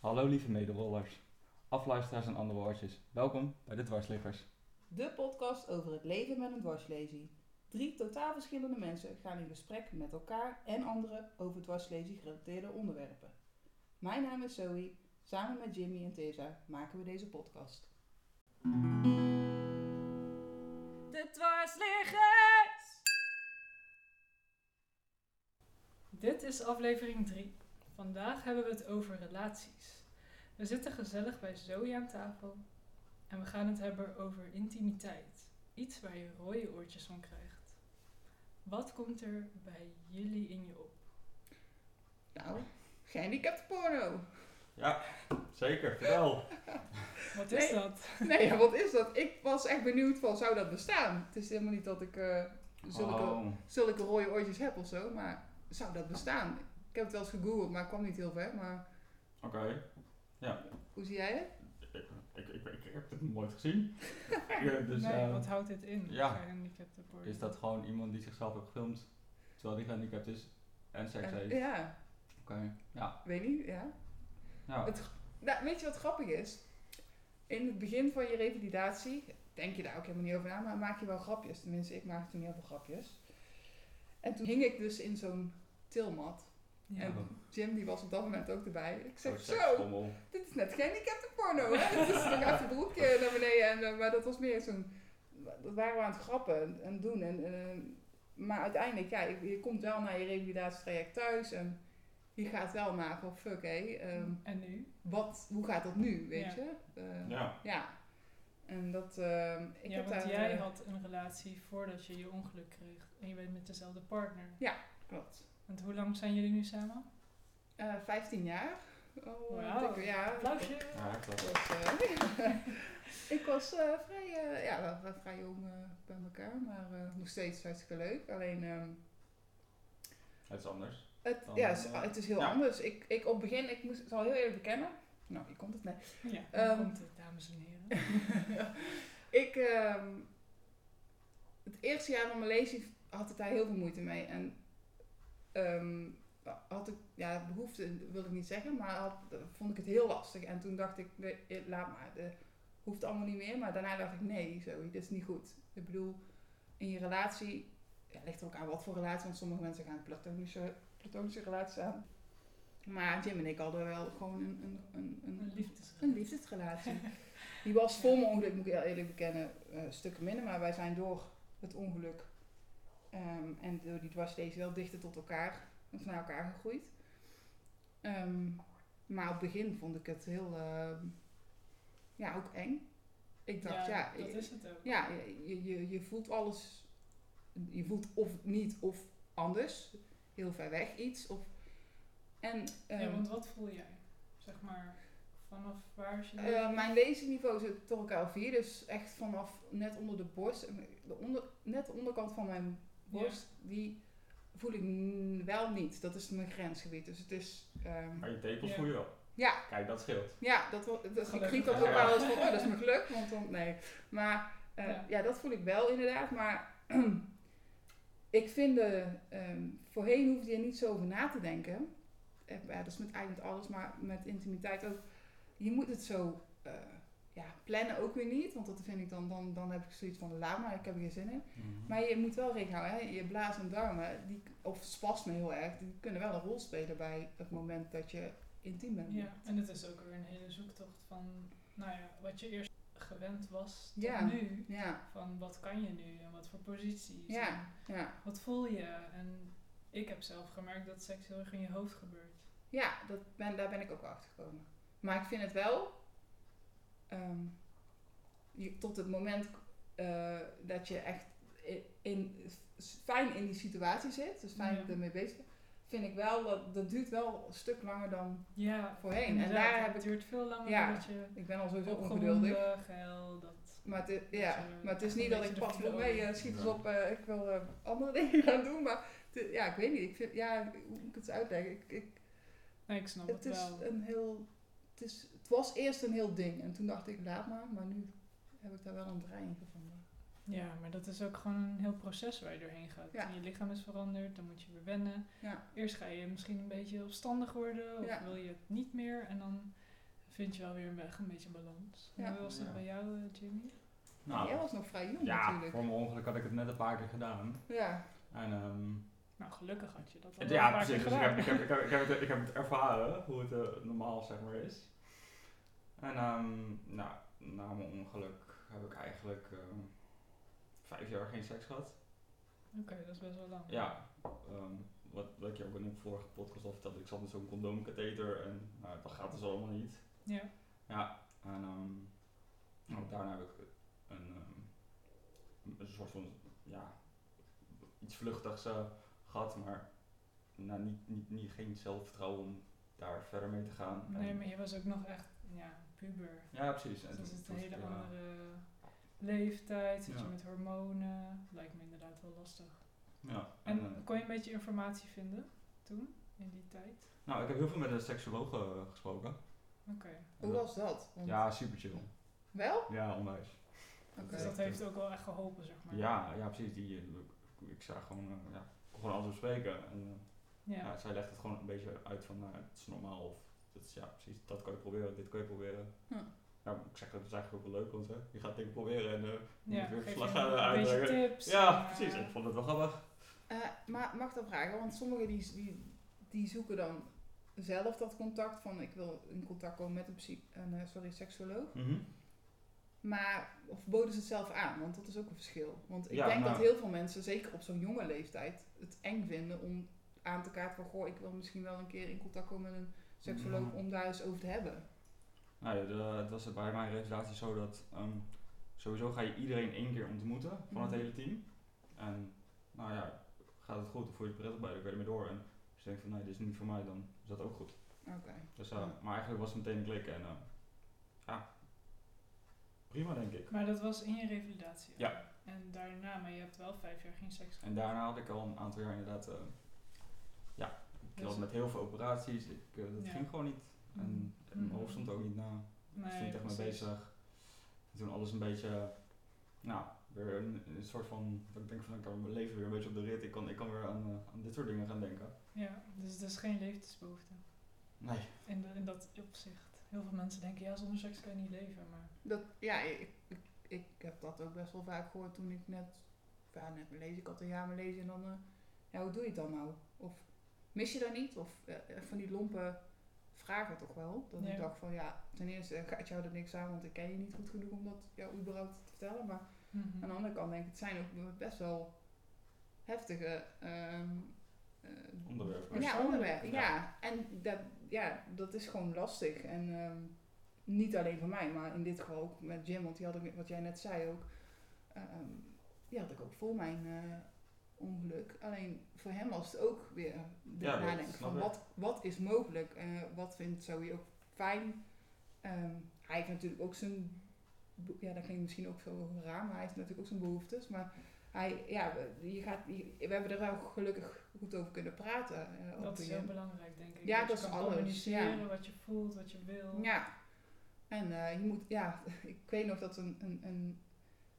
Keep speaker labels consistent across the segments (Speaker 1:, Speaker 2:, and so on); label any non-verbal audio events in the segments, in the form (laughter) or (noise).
Speaker 1: Hallo lieve medewollers, afluisteraars en andere woordjes. Welkom bij de Dwarsliggers.
Speaker 2: De podcast over het leven met een dwarslesie. Drie totaal verschillende mensen gaan in gesprek met elkaar en anderen over dwarslesie gerelateerde onderwerpen. Mijn naam is Zoe. Samen met Jimmy en Tessa maken we deze podcast.
Speaker 3: De dwarsliggers! Dit is aflevering 3. Vandaag hebben we het over relaties. We zitten gezellig bij Zoe aan tafel en we gaan het hebben over intimiteit. Iets waar je rode oortjes van krijgt. Wat komt er bij jullie in je op?
Speaker 2: Nou, gehandicapte (laughs) porno.
Speaker 1: Zeker, vertel.
Speaker 3: Wat is
Speaker 2: Nee.
Speaker 3: dat?
Speaker 2: Nee, ja, wat is dat? Ik was echt benieuwd van, zou dat bestaan? Het is helemaal niet dat ik eh, zulke,
Speaker 1: Oh,
Speaker 2: zulke rode oortjes heb of zo, maar zou dat bestaan? Ik heb het wel eens gegoogeld, maar ik kwam niet heel ver. Maar
Speaker 1: oké.
Speaker 2: hoe zie jij het?
Speaker 1: Ik, ik, ik, ik heb het nog nooit gezien.
Speaker 2: (laughs)
Speaker 1: Ja, dus,
Speaker 3: nee,
Speaker 1: eh,
Speaker 3: wat houdt dit in?
Speaker 1: ja.
Speaker 3: Gehandicapte porno.
Speaker 1: Is dat gewoon iemand die zichzelf heeft gefilmd, terwijl die gehandicapt is en seks heeft? Oké,
Speaker 2: ja,
Speaker 1: ja.
Speaker 2: weet niet, ja.
Speaker 1: ja.
Speaker 2: Het, nou, weet je wat grappig is? In het begin van je revalidatie denk je daar ook helemaal niet over na, maar maak je wel grapjes. Tenminste, ik maakte toen heel veel grapjes. En toen hing ik dus in zo'n tilmat.
Speaker 3: Ja.
Speaker 2: En Jim die was op dat moment ook erbij. Ik zeg,
Speaker 1: Oh,
Speaker 2: zo,
Speaker 1: sekstrommel.
Speaker 2: dit is net gehandicapte porno. Hè? (laughs) Dus dan gaat zijn broekje naar beneden. En, eh, maar dat was meer zo'n... Dat waren we aan het grappen en doen. En, eh, maar uiteindelijk, ja, je, je komt wel naar je revalidatietraject thuis. En je gaat wel na van, fuck hé. ehm,
Speaker 3: En nu?
Speaker 2: wat, hoe gaat dat nu, weet
Speaker 3: Ja.
Speaker 2: je? Eh,
Speaker 1: Ja.
Speaker 2: ja. En dat, eh, ik
Speaker 3: ja,
Speaker 2: heb
Speaker 3: want
Speaker 2: daar...
Speaker 3: jij
Speaker 2: eh,
Speaker 3: had een relatie voordat je je ongeluk kreeg. En je bent met dezelfde partner.
Speaker 2: Klopt.
Speaker 3: Want hoe lang zijn jullie nu samen?
Speaker 2: Eh 15 jaar. Oh,
Speaker 3: Wauw.
Speaker 2: dikke- ja.
Speaker 3: Applausje!
Speaker 1: Ja, ik
Speaker 2: Ik
Speaker 1: dacht-
Speaker 2: was, eh, (laughs) ik was eh, vrij, eh, ja, wel- wel vrij jong eh, bij elkaar, maar eh, nog steeds hartstikke leuk. Alleen, ehm,
Speaker 1: Het is anders.
Speaker 2: het,
Speaker 1: Dan,
Speaker 2: ja, het, is-
Speaker 1: eh,
Speaker 2: het is heel
Speaker 1: ja.
Speaker 2: anders. Ik, ik op het begin, ik moest, zal heel eerlijk bekennen. Nou, je komt het net.
Speaker 3: Ja, daar
Speaker 2: Ehm,
Speaker 3: komt het, dames en heren.
Speaker 2: (laughs) ik, ehm, het eerste jaar van mijn lesie had ik daar heel veel moeite mee. En ehm, had ik, ja, behoefte wil ik niet zeggen, maar had, vond ik het heel lastig. En toen dacht ik, nee, eh, laat maar, dat hoeft allemaal niet meer. Maar daarna dacht ik, nee, zo, dit is niet goed. Ik bedoel, in je relatie, ja, ligt er ook aan wat voor relatie, want sommige mensen gaan platonische, platonische relaties aan. Maar Jim en ik hadden wel gewoon een, een, een,
Speaker 3: Een
Speaker 2: een
Speaker 3: liefdesrelatie.
Speaker 2: liefdesrelatie. Die was voor mijn ongeluk, moet ik heel eerlijk bekennen, eh, stukken minder. Maar wij zijn door het ongeluk ehm, en door die dwarslezen wel dichter tot elkaar, of naar elkaar gegroeid. Ehm, maar op het begin vond ik het heel, ehm, ja, ook eng. Ik dacht, ja,
Speaker 3: dat
Speaker 2: ik-
Speaker 3: is het ook.
Speaker 2: ja, je, je, je voelt alles. Je voelt of niet of anders. Heel ver weg iets. Of, en
Speaker 3: ja,
Speaker 2: ehm,
Speaker 3: want wat voel jij? Zeg maar, vanaf waar is je...
Speaker 2: eh, mijn leesniveau zit door elkaar vier. Dus echt vanaf net onder de borst. en De onder, net de onderkant van mijn borst. Die voel ik n- wel niet. Dat is mijn grensgebied. Dus het is... ehm,
Speaker 1: Maar je tepels
Speaker 3: Ja.
Speaker 1: voel je wel.
Speaker 2: Ja.
Speaker 1: Kijk, dat scheelt.
Speaker 2: Ja, dat, wel- dat, ik
Speaker 3: Gelukkig.
Speaker 2: riep dat ook wel eens van, oh, dat is mijn geluk, want dan, nee. Maar eh,
Speaker 3: Ja.
Speaker 2: ja. dat voel ik wel inderdaad, maar (clears throat) ik vind, de, ehm, voorheen hoefde je er niet zo over na te denken. Eh, ja, dat is met eigenlijk met alles, maar met intimiteit ook. Je moet het zo eh, ja, plannen ook weer niet, want dat vind ik dan, dan, dan heb ik zoiets van, laat maar, ik heb er geen zin in. Maar je moet wel rekening houden, hè? je blaas en darmen, die, of spasmen heel erg, die kunnen wel een rol spelen bij het moment dat je intiem bent.
Speaker 3: ja, en het is ook weer een hele zoektocht van, nou ja, wat je eerst gewend was tot
Speaker 2: Ja.
Speaker 3: nu.
Speaker 2: Ja,
Speaker 3: Van, wat kan je nu en wat voor posities?
Speaker 2: Ja.
Speaker 3: en
Speaker 2: ja.
Speaker 3: Wat voel je? En ik heb zelf gemerkt dat seks heel erg in je hoofd gebeurt.
Speaker 2: Ja, dat ben, daar ben ik ook wel achter gekomen. Maar ik vind het wel. ehm, je, tot het moment eh, dat je echt in, in- fijn in die situatie zit, dus fijn
Speaker 3: Ja.
Speaker 2: ermee bezig bent, vind ik wel dat dat duurt wel een stuk langer dan
Speaker 3: Ja,
Speaker 2: voorheen. En
Speaker 3: inderdaad,
Speaker 2: daar heb
Speaker 3: het
Speaker 2: ik.
Speaker 3: duurt veel langer
Speaker 2: Ja.
Speaker 3: dat je
Speaker 2: Ik ben al sowieso ongeduldig.
Speaker 3: opgewonden, geil, dat...
Speaker 2: Maar het, i-
Speaker 3: Dat
Speaker 2: ja,
Speaker 3: je
Speaker 2: maar het is
Speaker 3: echt
Speaker 2: niet
Speaker 3: een
Speaker 2: dat ik
Speaker 3: beetje de
Speaker 2: pas
Speaker 3: flow
Speaker 2: op mee
Speaker 3: in.
Speaker 2: eh, schiet eens
Speaker 1: Nee.
Speaker 2: op, eh, ik wil eh, (laughs) andere dingen gaan doen. Maar het- ja, ik weet niet. Ik vind, ja, hoe moet ik het uitleggen? Ik, ik,
Speaker 3: Nee, Nou, ik snap het,
Speaker 2: Het is
Speaker 3: wel.
Speaker 2: een heel. Het, is, het was eerst een heel ding en toen dacht ik, laat maar, maar nu heb ik daar wel een draai in gevonden.
Speaker 3: Ja, maar dat is ook gewoon een heel proces waar je doorheen gaat.
Speaker 2: Ja.
Speaker 3: En je lichaam is veranderd, dan moet je weer wennen.
Speaker 2: Ja.
Speaker 3: Eerst ga je misschien een beetje opstandig worden of
Speaker 2: Ja.
Speaker 3: wil je het niet meer. En dan vind je wel weer een weg, een beetje balans.
Speaker 2: Ja.
Speaker 3: En Hoe was dat
Speaker 1: Ja.
Speaker 3: bij jou, eh, Jimmy?
Speaker 1: Nou,
Speaker 2: Jij was nog vrij jong
Speaker 1: ja,
Speaker 2: natuurlijk.
Speaker 1: voor mijn ongeluk had ik het net een paar keer gedaan.
Speaker 2: Ja,
Speaker 1: En ehm,
Speaker 3: Nou, gelukkig had je dat al
Speaker 1: het-
Speaker 3: wel een
Speaker 1: ja,
Speaker 3: paar keer
Speaker 1: precies. Dus ik, heb,
Speaker 3: gedaan.
Speaker 1: ik, heb, ik, heb, ik, heb het, ik heb het ervaren hoe het eh, normaal zeg maar is. En ehm, nou, na mijn ongeluk heb ik eigenlijk ehm, vijf jaar geen seks gehad.
Speaker 3: (laughs) Oké, dat is best wel lang.
Speaker 1: Ja, ehm, wat, wat ik je ook in een vorige podcast al vertelde, ik zat met zo'n condoomkatheter en nou, dat gaat dus allemaal niet.
Speaker 3: Ja.
Speaker 1: Ja, en ehm, ook daarna heb ik een, ehm, een soort van, ja, iets vluchtigs eh, gehad, maar nou, niet, niet, niet, geen zelfvertrouwen om daar verder mee te gaan.
Speaker 3: Nee,
Speaker 1: En-
Speaker 3: maar je was ook nog echt, ja, puber.
Speaker 1: Ja, precies. En eh,
Speaker 3: Dus dat
Speaker 1: toen-
Speaker 3: is een
Speaker 1: toen-
Speaker 3: hele
Speaker 1: ja.
Speaker 3: andere leeftijd, zit je
Speaker 1: Ja.
Speaker 3: met hormonen. Lijkt me inderdaad wel lastig.
Speaker 1: Ja, en,
Speaker 3: En
Speaker 1: eh,
Speaker 3: kon je een beetje informatie vinden toen, in die tijd?
Speaker 1: nou, ik heb heel veel met een seksuoloog eh, gesproken.
Speaker 3: Oké,
Speaker 1: En
Speaker 2: hoe was dat? Want-
Speaker 1: Ja, super chill.
Speaker 2: Wel?
Speaker 1: Ja, onwijs. eh,
Speaker 2: Oké.
Speaker 3: dus dat heeft ook wel echt geholpen, zeg maar.
Speaker 1: Ja, ja precies. Die, eh, ik, ik zag gewoon, eh, ja, ik kon gewoon alles bespreken. En, eh,
Speaker 3: Ja.
Speaker 1: ja, zij legt het gewoon een beetje uit van, nou, het is normaal. Of, dat is, ja, precies, dat kan je proberen, dit kan je proberen.
Speaker 2: Hm.
Speaker 1: Nou, ik zeg dat is eigenlijk ook wel leuk, want hè, je gaat dingen proberen en eh, je
Speaker 3: Ja,
Speaker 1: moet weer
Speaker 3: geef
Speaker 1: verslag
Speaker 3: je
Speaker 1: gaan
Speaker 3: een beetje
Speaker 1: uitleggen.
Speaker 3: tips.
Speaker 1: Ja,
Speaker 3: en, eh,
Speaker 1: precies. Ik vond het wel grappig.
Speaker 2: Eh, maar mag ik dan vragen? Want sommigen die, die, die zoeken dan zelf dat contact van ik wil in contact komen met een, psy- een eh, sorry, seksuoloog.
Speaker 1: Mhm.
Speaker 2: Maar of boden ze het zelf aan? Want dat is ook een verschil. Want ik
Speaker 1: Ja,
Speaker 2: denk
Speaker 1: nou-
Speaker 2: dat heel veel mensen, zeker op zo'n jonge leeftijd, het eng vinden om aan te kaarten van goh, ik wil misschien wel een keer in contact komen met een seksuoloog
Speaker 1: Ja.
Speaker 2: om daar eens over te hebben.
Speaker 1: Nou, ja, de- het was bij mijn realisatie zo dat ehm, sowieso ga je iedereen één keer ontmoeten van het
Speaker 2: Mhm.
Speaker 1: hele team. En nou ja, gaat het goed of voel je je prettig bij, dan kun je ermee door. En als je denkt van nee, dit is niet voor mij, dan is dat ook goed.
Speaker 2: Oké.
Speaker 1: Dus, eh,
Speaker 2: Ja.
Speaker 1: Maar eigenlijk was het meteen klikken en eh, ja, prima denk ik.
Speaker 3: Maar dat was in je revalidatie. al.
Speaker 1: Ja.
Speaker 3: En daarna, maar je hebt wel vijf jaar geen seks
Speaker 1: En
Speaker 3: gehad.
Speaker 1: daarna had ik al een aantal jaar inderdaad, eh, ja, ik
Speaker 3: Dus-
Speaker 1: had met heel veel operaties, ik, eh, dat
Speaker 3: Ja.
Speaker 1: ging gewoon niet. En, en mijn
Speaker 3: Mhm.
Speaker 1: hoofd stond ook niet na, ik stond echt mee
Speaker 3: precies.
Speaker 1: bezig. En toen alles een beetje, nou, weer een, een soort van, dat ik denk van ik kan mijn leven weer een beetje op de rit, ik kan, ik kan weer aan, eh, aan dit soort dingen gaan denken.
Speaker 3: Ja, dus het is geen leeftijdsbehoefte.
Speaker 1: Nee,
Speaker 3: In, de- in dat opzicht. Heel veel mensen denken, ja, zonder seks kan je niet leven. Maar
Speaker 2: Dat, ja, ik, ik, ik heb dat ook best wel vaak gehoord toen ik net, ja, net mijn lezen, ik had een jaar mijn lezen en dan, eh, ja, hoe doe je het dan nou? Of mis je dat niet? Of eh, eh, van die lompe vragen toch wel? Dat
Speaker 3: Ja.
Speaker 2: ik dacht van, ja, ten eerste gaat jou er niks aan, want ik ken je niet goed genoeg om dat jou überhaupt te vertellen. Maar
Speaker 3: Mhm.
Speaker 2: aan de andere kant denk ik, het zijn ook best wel heftige ehm eh,
Speaker 1: onderwerp. maar-
Speaker 2: ja,
Speaker 3: Persoonlijk.
Speaker 2: onderwerpen. Ja.
Speaker 1: Ja.
Speaker 2: en dat, ja, dat is gewoon lastig. En ehm, niet alleen voor mij, maar in dit geval ook met Jim, want die had ik, wat jij net zei ook, ehm, die had ik ook voor mijn eh, ongeluk. Alleen voor hem was het ook weer de
Speaker 1: Ja, dat
Speaker 2: nadenken
Speaker 1: snap
Speaker 2: van
Speaker 1: ik.
Speaker 2: wat, wat is mogelijk, eh, wat vindt Zoe ook fijn. Ehm, hij heeft natuurlijk ook zijn, be- ja dat klinkt misschien ook zo raar, maar hij heeft natuurlijk ook zijn behoeftes. Maar hij, ja, we, je gaat, je- we hebben er wel gelukkig goed over kunnen praten. eh,
Speaker 3: dat
Speaker 2: over
Speaker 3: is
Speaker 2: Jim.
Speaker 3: heel belangrijk, denk ik.
Speaker 2: Ja,
Speaker 3: je
Speaker 2: dat is
Speaker 3: kan
Speaker 2: alles,
Speaker 3: communiceren
Speaker 2: ja.
Speaker 3: wat je voelt, wat je wil.
Speaker 2: Ja. En eh, je moet, ja, (laughs) ik weet nog dat een, een, een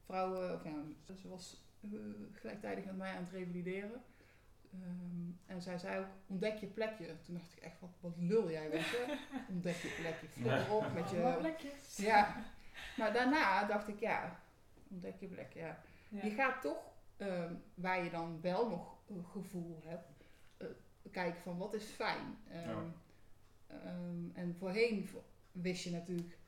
Speaker 2: vrouw, eh, of ja, ze was eh, gelijktijdig met mij aan het revalideren. Ehm, en zij zei ook, ontdek je plekje. Toen dacht ik echt, wat, wat lul jij, weet je.
Speaker 3: (laughs)
Speaker 2: Ontdek je plekje, flikker op met
Speaker 3: Allemaal
Speaker 2: je...
Speaker 3: plekjes.
Speaker 2: Ja. Maar daarna dacht ik, ja, ontdek je plekje, ja.
Speaker 3: Ja.
Speaker 2: Je gaat toch, ehm, waar je dan wel nog een gevoel hebt, eh, kijken van wat is fijn. Ehm,
Speaker 1: Ja.
Speaker 2: ehm, en voorheen vo- wist je natuurlijk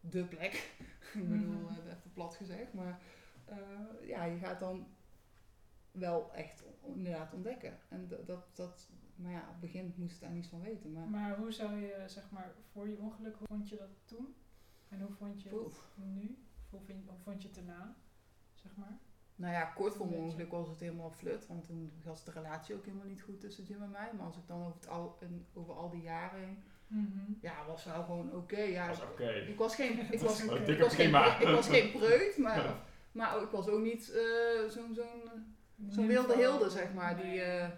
Speaker 2: de plek. (laughs) Ik bedoel,
Speaker 3: Mhm.
Speaker 2: eh, even plat gezegd. Maar eh, ja, je gaat dan wel echt on- inderdaad ontdekken. En dat, dat, dat maar ja, op het begin moest ik daar niets van weten. Maar
Speaker 3: Maar hoe zou je, zeg maar, voor je ongeluk, hoe vond je dat toen? En hoe vond je het
Speaker 2: Oef.
Speaker 3: nu? Of Hoe, vind, hoe vond je het daarna, zeg maar?
Speaker 2: Nou ja, kort voor mijn
Speaker 3: Beetje.
Speaker 2: ongeluk was het helemaal flut. Want toen was de relatie ook helemaal niet goed tussen Jim en mij. Maar als ik dan over, het al, en over al die jaren heen Ja, was wel gewoon oké. ja.
Speaker 1: Dat was oké.
Speaker 2: Ik was
Speaker 1: (laughs)
Speaker 2: geen, ik
Speaker 3: Dat
Speaker 2: was,
Speaker 3: is wel
Speaker 2: ik
Speaker 1: dikke
Speaker 2: was geen,
Speaker 1: prima.
Speaker 2: ik was geen preut, maar, maar ook- ik was ook niet eh, zo'n zo'n zo'n wilde hilde, zeg maar. Die, eh, eh,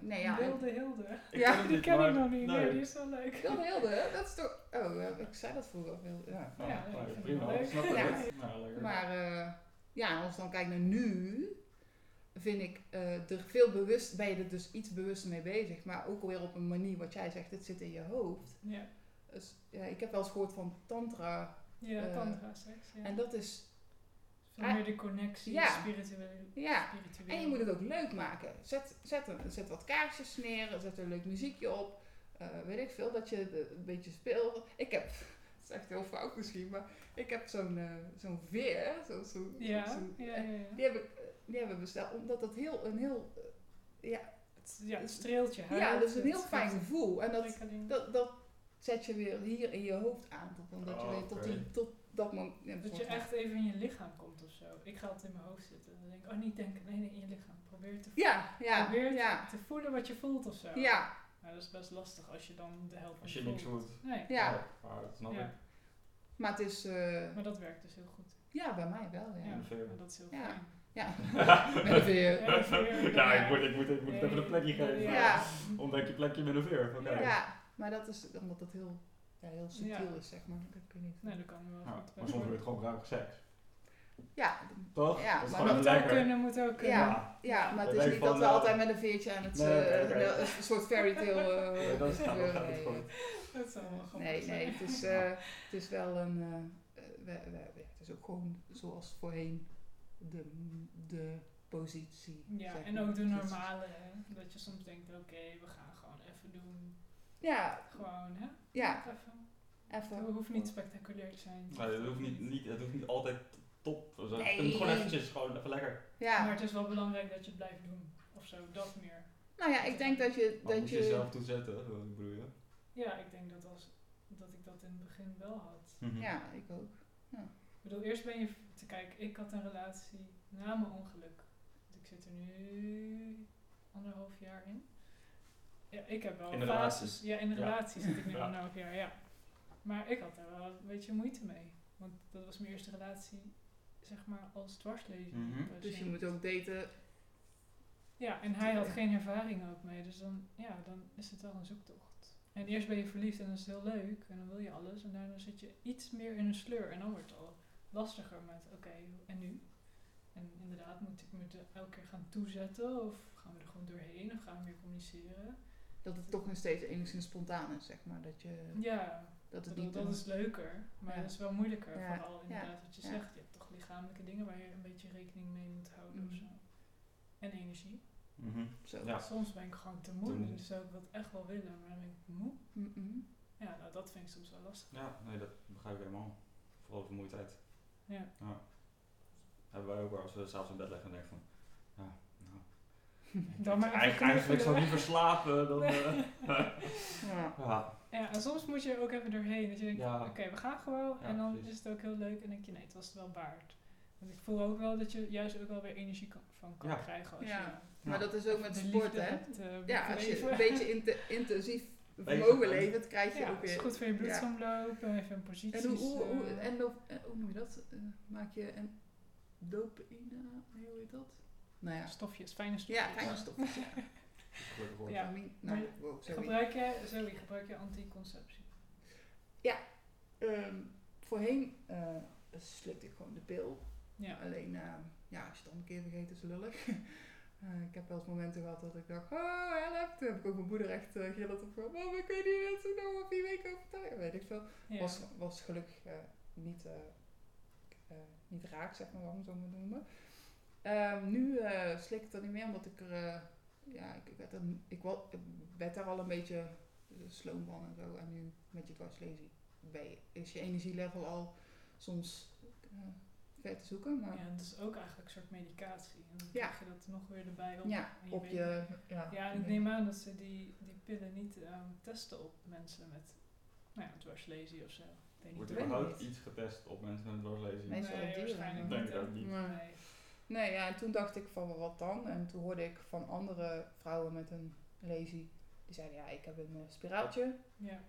Speaker 2: nee, ja. en-
Speaker 3: wilde hilde.
Speaker 2: Ja,
Speaker 1: het
Speaker 3: die
Speaker 1: niet,
Speaker 3: ken
Speaker 1: maar-
Speaker 3: ik nog niet. Nee,
Speaker 1: nee.
Speaker 3: die is wel leuk.
Speaker 2: Wilde Hilde, dat is toch... Oh, eh, ik zei dat vroeger. Wilde, ja.
Speaker 1: Oh,
Speaker 3: Ja,
Speaker 1: nou,
Speaker 3: ik vind het
Speaker 1: prima.
Speaker 3: wel leuk.
Speaker 1: Snap ik
Speaker 2: Ja.
Speaker 1: het. Nou, lekker.
Speaker 2: Maar eh, ja, en als ik dan kijk naar nu, vind ik eh, er veel bewust, ben je er dus iets bewuster mee bezig. Maar ook alweer op een manier wat jij zegt, het zit in je hoofd.
Speaker 3: Ja.
Speaker 2: Dus, ja, ik heb wel eens gehoord van tantra.
Speaker 3: Ja,
Speaker 2: Eh,
Speaker 3: tantra seks. Ja.
Speaker 2: En dat is...
Speaker 3: Veel
Speaker 2: Ah,
Speaker 3: meer de connectie,
Speaker 2: ja.
Speaker 3: spirituele.
Speaker 2: Ja,
Speaker 3: spirituele.
Speaker 2: En je moet het ook leuk maken. Zet, zet, een, zet wat kaarsjes neer, zet een leuk muziekje op. Eh, weet ik veel, dat je het een beetje speelt. Ik heb, (laughs) het is echt heel fout misschien, maar ik heb zo'n eh, zo'n veer. Zo, zo,
Speaker 3: Ja,
Speaker 2: zo'n-
Speaker 3: ja, ja, ja.
Speaker 2: Die, heb ik, eh, die hebben we besteld, omdat dat heel, een heel,
Speaker 3: Het, ja, het streelt je huid.
Speaker 2: ja, dat is een heel
Speaker 3: het
Speaker 2: fijn
Speaker 3: geeft
Speaker 2: gevoel. En dat,
Speaker 3: prikkeling.
Speaker 2: dat, dat zet je weer hier in je hoofd aan, tot, omdat je
Speaker 1: Oh,
Speaker 2: weet tot,
Speaker 1: oké.
Speaker 2: die, tot dat moment. ja,
Speaker 3: Dat je
Speaker 2: soort van-
Speaker 3: echt even in je lichaam komt of zo. Ik ga altijd in mijn hoofd zitten. En dan denk ik, oh niet denken, nee, nee, in je lichaam. Probeer te,
Speaker 2: Ja, ja,
Speaker 3: probeer
Speaker 2: ja,
Speaker 3: te voelen wat je voelt of zo.
Speaker 2: ja,
Speaker 3: Nou, dat is best lastig als je dan de helft
Speaker 1: Als
Speaker 3: niet
Speaker 1: je niks
Speaker 3: voelt.
Speaker 1: hoort.
Speaker 3: Nee,
Speaker 2: ja.
Speaker 1: Oh, dat snap
Speaker 3: Ja.
Speaker 1: ik.
Speaker 2: Maar het is, eh,
Speaker 3: maar dat werkt dus heel goed.
Speaker 2: ja, bij mij wel,
Speaker 3: Ja,
Speaker 2: ja.
Speaker 1: ongeveer.
Speaker 3: maar dat is heel
Speaker 2: Ja.
Speaker 3: fijn.
Speaker 2: Ja, met
Speaker 1: (laughs)
Speaker 2: een veer.
Speaker 3: Ja, ongeveer.
Speaker 1: Ja, ik moet, ik moet, ik moet
Speaker 3: Nee,
Speaker 1: even een plekje
Speaker 3: nee,
Speaker 1: geven.
Speaker 2: Ja.
Speaker 1: Ontdek je plekje met een veer. Oké.
Speaker 3: Ja.
Speaker 2: Ja, maar dat is omdat dat heel, ja, heel subtiel
Speaker 3: Ja.
Speaker 2: is, zeg maar. Dat kun je niet.
Speaker 3: Nee, dat kan wel
Speaker 1: Nou,
Speaker 3: goed.
Speaker 1: maar soms wordt het gewoon ruige seks.
Speaker 2: Ja,
Speaker 1: Toch?
Speaker 2: Ja,
Speaker 1: Dat is
Speaker 2: maar
Speaker 1: gewoon
Speaker 3: Moet ook
Speaker 1: lekker.
Speaker 3: kunnen, moet ook kunnen.
Speaker 2: Ja. ja, maar het is niet dat we altijd met een veertje aan het
Speaker 1: eh, Nee, oké,
Speaker 2: eh,
Speaker 1: oké.
Speaker 2: wel een soort fairy
Speaker 3: (laughs)
Speaker 2: tale eh,
Speaker 1: Nee, dat gaat- dat
Speaker 2: gebeuren.
Speaker 1: gaat
Speaker 2: Nee,
Speaker 1: niet goed.
Speaker 3: Dat is allemaal grappig.
Speaker 2: Nee,
Speaker 3: zijn.
Speaker 2: nee, het is, eh, het is wel een. eh, eh, we- we- ja, het is ook gewoon zoals voorheen de, de positie.
Speaker 3: Ja,
Speaker 2: zeg
Speaker 3: en
Speaker 2: maar.
Speaker 3: ook de
Speaker 2: Het is-
Speaker 3: normale, hè. Dat je soms denkt, oké, we gaan gewoon even doen.
Speaker 2: Ja,
Speaker 3: Gewoon, hè?
Speaker 2: ja,
Speaker 3: Even. Het
Speaker 2: even.
Speaker 3: hoeft niet spectaculair te zijn.
Speaker 1: Maar het hoeft niet, niet, het hoeft niet altijd top. Dus
Speaker 2: Nee.
Speaker 1: het moet gewoon eventjes, gewoon even lekker.
Speaker 3: Maar
Speaker 2: Ja.
Speaker 3: het is wel belangrijk dat je het blijft doen. Of zo, dat meer.
Speaker 2: Nou ja, ik denk dat je.
Speaker 1: Maar
Speaker 2: Dat
Speaker 1: moet je jezelf toezetten, hè, wat ik bedoel je.
Speaker 3: Ja, ik denk dat, als, dat ik dat in het begin wel had.
Speaker 1: Mhm.
Speaker 2: Ja, ik ook.
Speaker 3: Ik bedoel, eerst ben je te kijken, ik had een relatie na mijn ongeluk. Dus ik zit er nu anderhalf jaar in. Ja, ik heb wel
Speaker 1: In de
Speaker 3: fases. Ja, in de
Speaker 1: Ja.
Speaker 3: relatie zit ik nu
Speaker 1: Ja.
Speaker 3: anderhalf jaar, ja. Maar ik had daar wel een beetje moeite mee. Want dat was mijn eerste relatie, zeg maar, als dwarslezer.
Speaker 1: Mhm.
Speaker 2: Dus je moet ook daten.
Speaker 3: Ja, en hij had geen ervaring ook mee. Dus dan, ja, dan is het wel een zoektocht. En eerst ben je verliefd en dat is heel leuk. En dan wil je alles. En daarna zit je iets meer in een sleur. En dan wordt het al lastiger met, oké, en nu? En inderdaad, moet ik me er elke keer gaan toezetten? Of gaan we er gewoon doorheen? Of gaan we meer communiceren?
Speaker 2: Dat het toch nog steeds enigszins spontaan is, zeg maar. Dat je.
Speaker 3: Ja,
Speaker 2: Dat het
Speaker 3: bedoel,
Speaker 2: niet.
Speaker 3: dat
Speaker 2: een-
Speaker 3: is leuker. Maar
Speaker 2: Ja.
Speaker 3: dat is wel moeilijker.
Speaker 2: Ja,
Speaker 3: Vooral inderdaad wat je
Speaker 2: ja.
Speaker 3: zegt. Je hebt toch lichamelijke dingen waar je een beetje rekening mee moet houden of
Speaker 2: Mhm.
Speaker 3: zo. En energie.
Speaker 1: Mhm.
Speaker 2: Zo.
Speaker 1: Ja.
Speaker 3: Soms ben ik gewoon te
Speaker 1: Te
Speaker 3: moe,
Speaker 1: moe.
Speaker 3: dus zou ik dat echt wel willen, maar dan ben ik moe.
Speaker 2: Mm-mm.
Speaker 3: Ja, nou, dat vind ik soms wel
Speaker 1: (laughs)
Speaker 3: lastig.
Speaker 1: Ja, nee, dat begrijp ik helemaal. Vooral vermoeidheid.
Speaker 3: Ja.
Speaker 1: Hebben wij ook wel als we s'avonds in bed liggen en denken van, ja, nou.
Speaker 3: Dan maar even
Speaker 1: Eigen- eigenlijk zou ik
Speaker 3: knuffelen.
Speaker 1: liever slapen
Speaker 3: (laughs)
Speaker 1: dan... eh, (laughs)
Speaker 2: Ja.
Speaker 1: ja.
Speaker 3: Ja, en soms moet je er ook even doorheen. Dat je denkt,
Speaker 1: Ja.
Speaker 3: oké, we gaan gewoon.
Speaker 1: Ja,
Speaker 3: en dan
Speaker 1: precies.
Speaker 3: is het ook heel leuk. En dan denk je, nee, het was het wel waard. Want ik voel ook wel dat je juist ook wel weer energie kan- van kan
Speaker 1: Ja.
Speaker 3: krijgen. Als
Speaker 2: Ja.
Speaker 3: je
Speaker 2: Maar dat is ook met
Speaker 3: de
Speaker 2: sport,
Speaker 3: liefde
Speaker 2: hè?
Speaker 3: hebt, eh,
Speaker 2: Ja, als je
Speaker 3: bedreven.
Speaker 2: een beetje inte- intensief
Speaker 1: Bezig
Speaker 2: vermogen
Speaker 1: bent.
Speaker 2: levert, krijg je
Speaker 3: (laughs) Ja,
Speaker 2: ook
Speaker 3: het is
Speaker 2: weer.
Speaker 3: goed voor je bloedsomloop. en Even in posities.
Speaker 2: En hoe, hoe, hoe,
Speaker 3: eh,
Speaker 2: en of- eh, hoe noem je dat? Eh, maak je een dopamine? eh, Hoe heet dat? Nou ja,
Speaker 3: stofjes, fijne stofjes.
Speaker 2: ja, fijne stofjes. Ja.
Speaker 1: Gelukkig hoor.
Speaker 3: Ja.
Speaker 2: Dopamine.
Speaker 3: Maar
Speaker 2: Nou,
Speaker 3: je-
Speaker 2: wow, sorry.
Speaker 3: Gebruik je, sorry, gebruik je anticonceptie?
Speaker 2: Ehm, voorheen eh, slikte ik gewoon de pil.
Speaker 3: Ja.
Speaker 2: Alleen, eh, ja, als je het dan een keer vergeet, is het lullig. (laughs) Eh, ik heb wel eens momenten gehad dat ik dacht, oh, help. Toen heb ik ook mijn moeder echt uh, gillend op van, mama, kun je die mensen nou op die week overtuigen? Weet ik veel.
Speaker 3: Ja.
Speaker 2: Was, was gelukkig eh, niet, eh, eh, niet raak, zeg maar, waarom zo maar noemen. Ehm, nu eh, slik ik dat niet meer, omdat ik er, eh, ja, ik, ik werd er, ik, wa- ik werd daar al een beetje eh, sloom van en zo. En nu met je dwarslezing ben je- is je energielevel al soms eh, ver te zoeken, maar...
Speaker 3: Ja, het is ook eigenlijk een soort medicatie. En dan
Speaker 2: Ja.
Speaker 3: krijg je dat nog weer erbij op.
Speaker 2: Ja,
Speaker 3: en
Speaker 2: op
Speaker 3: weet
Speaker 2: je. Ja,
Speaker 3: niet- Ja, en ik neem aan dat ze die, die pillen niet ehm, testen op mensen met, nou ja, dwarslesie of zo. Ik weet niet.
Speaker 1: Wordt
Speaker 2: weet ik
Speaker 1: überhaupt
Speaker 2: niet.
Speaker 1: iets getest op mensen met dwarslezing?
Speaker 2: Nee, Meestal op dieren,
Speaker 3: waarschijnlijk
Speaker 1: denk
Speaker 3: niet.
Speaker 1: ik ook
Speaker 3: hè?
Speaker 1: niet.
Speaker 2: Nee.
Speaker 3: Nee.
Speaker 2: Nee, ja, en toen dacht ik van wat dan? En toen hoorde ik van andere vrouwen met een lazy. Die zeiden ja, ik heb een eh, spiraaltje.
Speaker 3: Ja,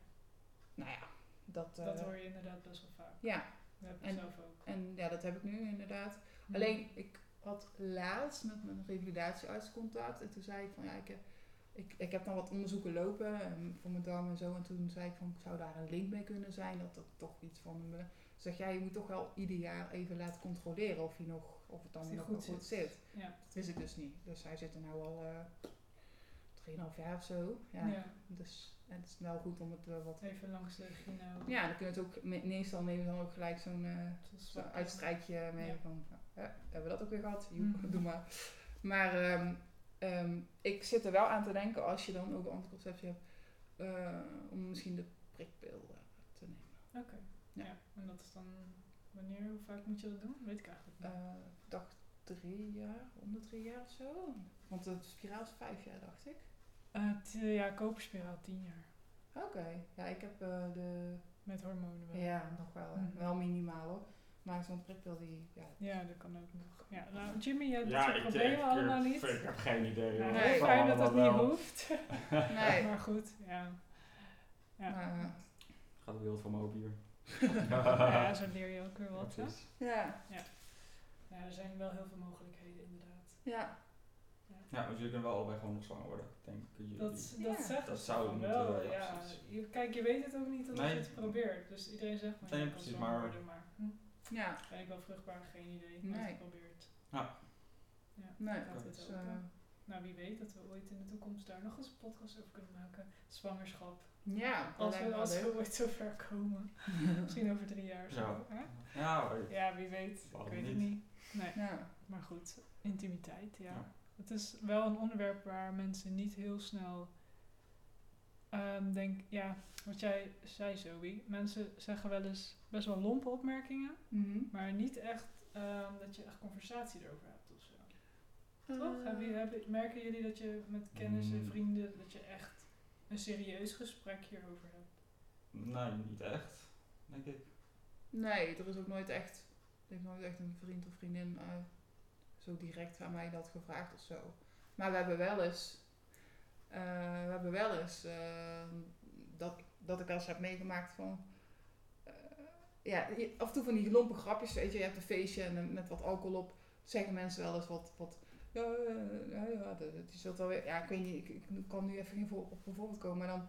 Speaker 2: Nou ja, dat. eh,
Speaker 3: dat hoor je inderdaad best wel vaak.
Speaker 2: Ja,
Speaker 3: Dat heb ik
Speaker 2: En-
Speaker 3: zelf ook.
Speaker 2: en ja, dat heb ik nu inderdaad.
Speaker 3: Hm.
Speaker 2: Alleen, ik had laatst met mijn revalidatiearts contact. En toen zei ik van, ja, ik heb, ik, ik heb dan wat onderzoeken lopen en voor mijn darm en zo. En toen zei ik van, zou daar een link mee kunnen zijn? Dat dat toch iets van me... Zeg, ja, je moet toch wel ieder jaar even laten controleren of, je nog, of het dan
Speaker 3: Of die
Speaker 2: nog
Speaker 3: goed
Speaker 2: wel goed
Speaker 3: zit.
Speaker 2: zit.
Speaker 3: Ja.
Speaker 2: Dat wist ik nou dus niet. Dus hij zit er nu al eh 3,5 jaar of zo. Ja,
Speaker 3: Ja.
Speaker 2: Dus En het is wel goed om het eh, wat...
Speaker 3: Even langs de gyno.
Speaker 2: Ja, dan kunnen we het ook... me- Meestal nemen we dan ook gelijk zo'n... eh, Zo'n
Speaker 3: Tot zwakken.
Speaker 2: uitstrijkje mee
Speaker 3: Ja.
Speaker 2: van, ja, hebben we dat ook weer gehad? Joep,
Speaker 3: Mhm.
Speaker 2: doe maar. Maar ehm, ehm, ik zit er wel aan te denken, als je dan ook een anticonceptie hebt, eh, om misschien de prikpil eh, te nemen.
Speaker 3: Ja.
Speaker 2: Ja.
Speaker 3: en dat is dan wanneer, hoe vaak moet je dat doen? Weet ik eigenlijk niet.
Speaker 2: Eh, ik dacht drie jaar, om de drie jaar of zo. Want de spiraal is vijf jaar, dacht ik.
Speaker 3: Eh, t- ja, koperspiraal 10 jaar.
Speaker 2: Oké, ja, ik heb eh, de...
Speaker 3: Met hormonen wel.
Speaker 2: Ja, nog wel. eh,
Speaker 3: Mhm.
Speaker 2: Wel minimaal hoor. Maar zo'n prikpil die... Ja,
Speaker 3: Ja, dat kan ook nog. Ja, nou, Jimmy, jij doet
Speaker 1: Ja,
Speaker 3: ja,
Speaker 1: ik-
Speaker 3: proberen
Speaker 1: ik-
Speaker 3: allemaal
Speaker 1: ik-
Speaker 3: niet.
Speaker 1: Ik heb geen idee.
Speaker 3: Nou,
Speaker 1: hoor.
Speaker 2: nee,
Speaker 1: Het zal
Speaker 3: fijn dat dat
Speaker 1: allemaal
Speaker 3: niet
Speaker 1: wel.
Speaker 3: hoeft. (laughs)
Speaker 2: nee.
Speaker 3: Maar goed, ja.
Speaker 1: (laughs)
Speaker 3: Ja.
Speaker 2: Maar, eh,
Speaker 1: Gaat de wereld van me open hier.
Speaker 3: (laughs) ja, zo leer je ook weer wat. Hè?
Speaker 1: Precies.
Speaker 2: ja,
Speaker 3: Ja, er zijn wel heel veel mogelijkheden inderdaad.
Speaker 2: ja.
Speaker 1: Ja, dus jullie kunnen wel allebei gewoon nog zwanger worden, denk ik.
Speaker 3: Dat, dat
Speaker 2: Ja.
Speaker 3: zegt
Speaker 1: Dat
Speaker 3: ze
Speaker 1: zou
Speaker 3: van
Speaker 1: moeten,
Speaker 3: wel,
Speaker 1: ja,
Speaker 3: ja.
Speaker 1: precies.
Speaker 3: Je- Kijk, je weet het ook niet omdat
Speaker 1: Nee.
Speaker 3: je het probeert. Dus iedereen zegt maar,
Speaker 1: Nee,
Speaker 3: je kan
Speaker 1: precies,
Speaker 3: zwanger
Speaker 1: maar-
Speaker 3: worden, maar hm,
Speaker 2: Ja,
Speaker 3: ben ik wel vruchtbaar? Geen idee. Ik heb het
Speaker 2: Nee.
Speaker 3: geprobeerd.
Speaker 2: nee.
Speaker 3: Laten we het
Speaker 2: Dus,
Speaker 3: open.
Speaker 2: eh,
Speaker 3: Nou, wie weet dat we ooit in de toekomst daar nog eens een podcast over kunnen maken. Zwangerschap.
Speaker 2: ja, dat
Speaker 3: Als
Speaker 2: lijkt
Speaker 3: we,
Speaker 2: me wel
Speaker 3: als
Speaker 2: leuk.
Speaker 3: we ooit zover
Speaker 2: (laughs)
Speaker 3: komen. Misschien over drie jaar of zo. hè?
Speaker 1: Ja, weet ik.
Speaker 3: Ja, wie weet. Ik
Speaker 1: Waarom
Speaker 3: weet het
Speaker 1: niet?
Speaker 3: niet. Nee,
Speaker 2: Ja.
Speaker 3: maar goed. Intimiteit, ja.
Speaker 1: Ja.
Speaker 3: Het is wel een onderwerp waar mensen niet heel snel... ehm denk, ja, wat jij zei, Zoe. Mensen zeggen wel eens best wel lompe opmerkingen.
Speaker 2: Mhm.
Speaker 3: Maar niet echt ehm, dat je echt conversatie erover hebt of zo.
Speaker 2: Mm.
Speaker 3: Toch? Hebben, jullie- hebben- merken jullie dat je met kennis en
Speaker 1: Mm.
Speaker 3: vrienden dat je echt een serieus gesprek hierover hebt?
Speaker 1: Nee, niet echt, denk ik.
Speaker 2: Nee, er is ook nooit echt. Er heeft nooit echt een vriend of vriendin eh, zo direct aan mij dat gevraagd of zo. Maar we hebben wel eens. eh, we hebben wel eens eh, dat, dat ik wel eens heb meegemaakt van. eh, ja, je- af en toe van die lompe grapjes, weet je, je hebt een feestje en dan met wat alcohol op, zeggen mensen wel eens wat. wat ja, eh, ja, ja, dat- dat is wel weer. Ja, ik weet niet, ik, ik kan nu even geen voor, op een voorbeeld komen, maar dan.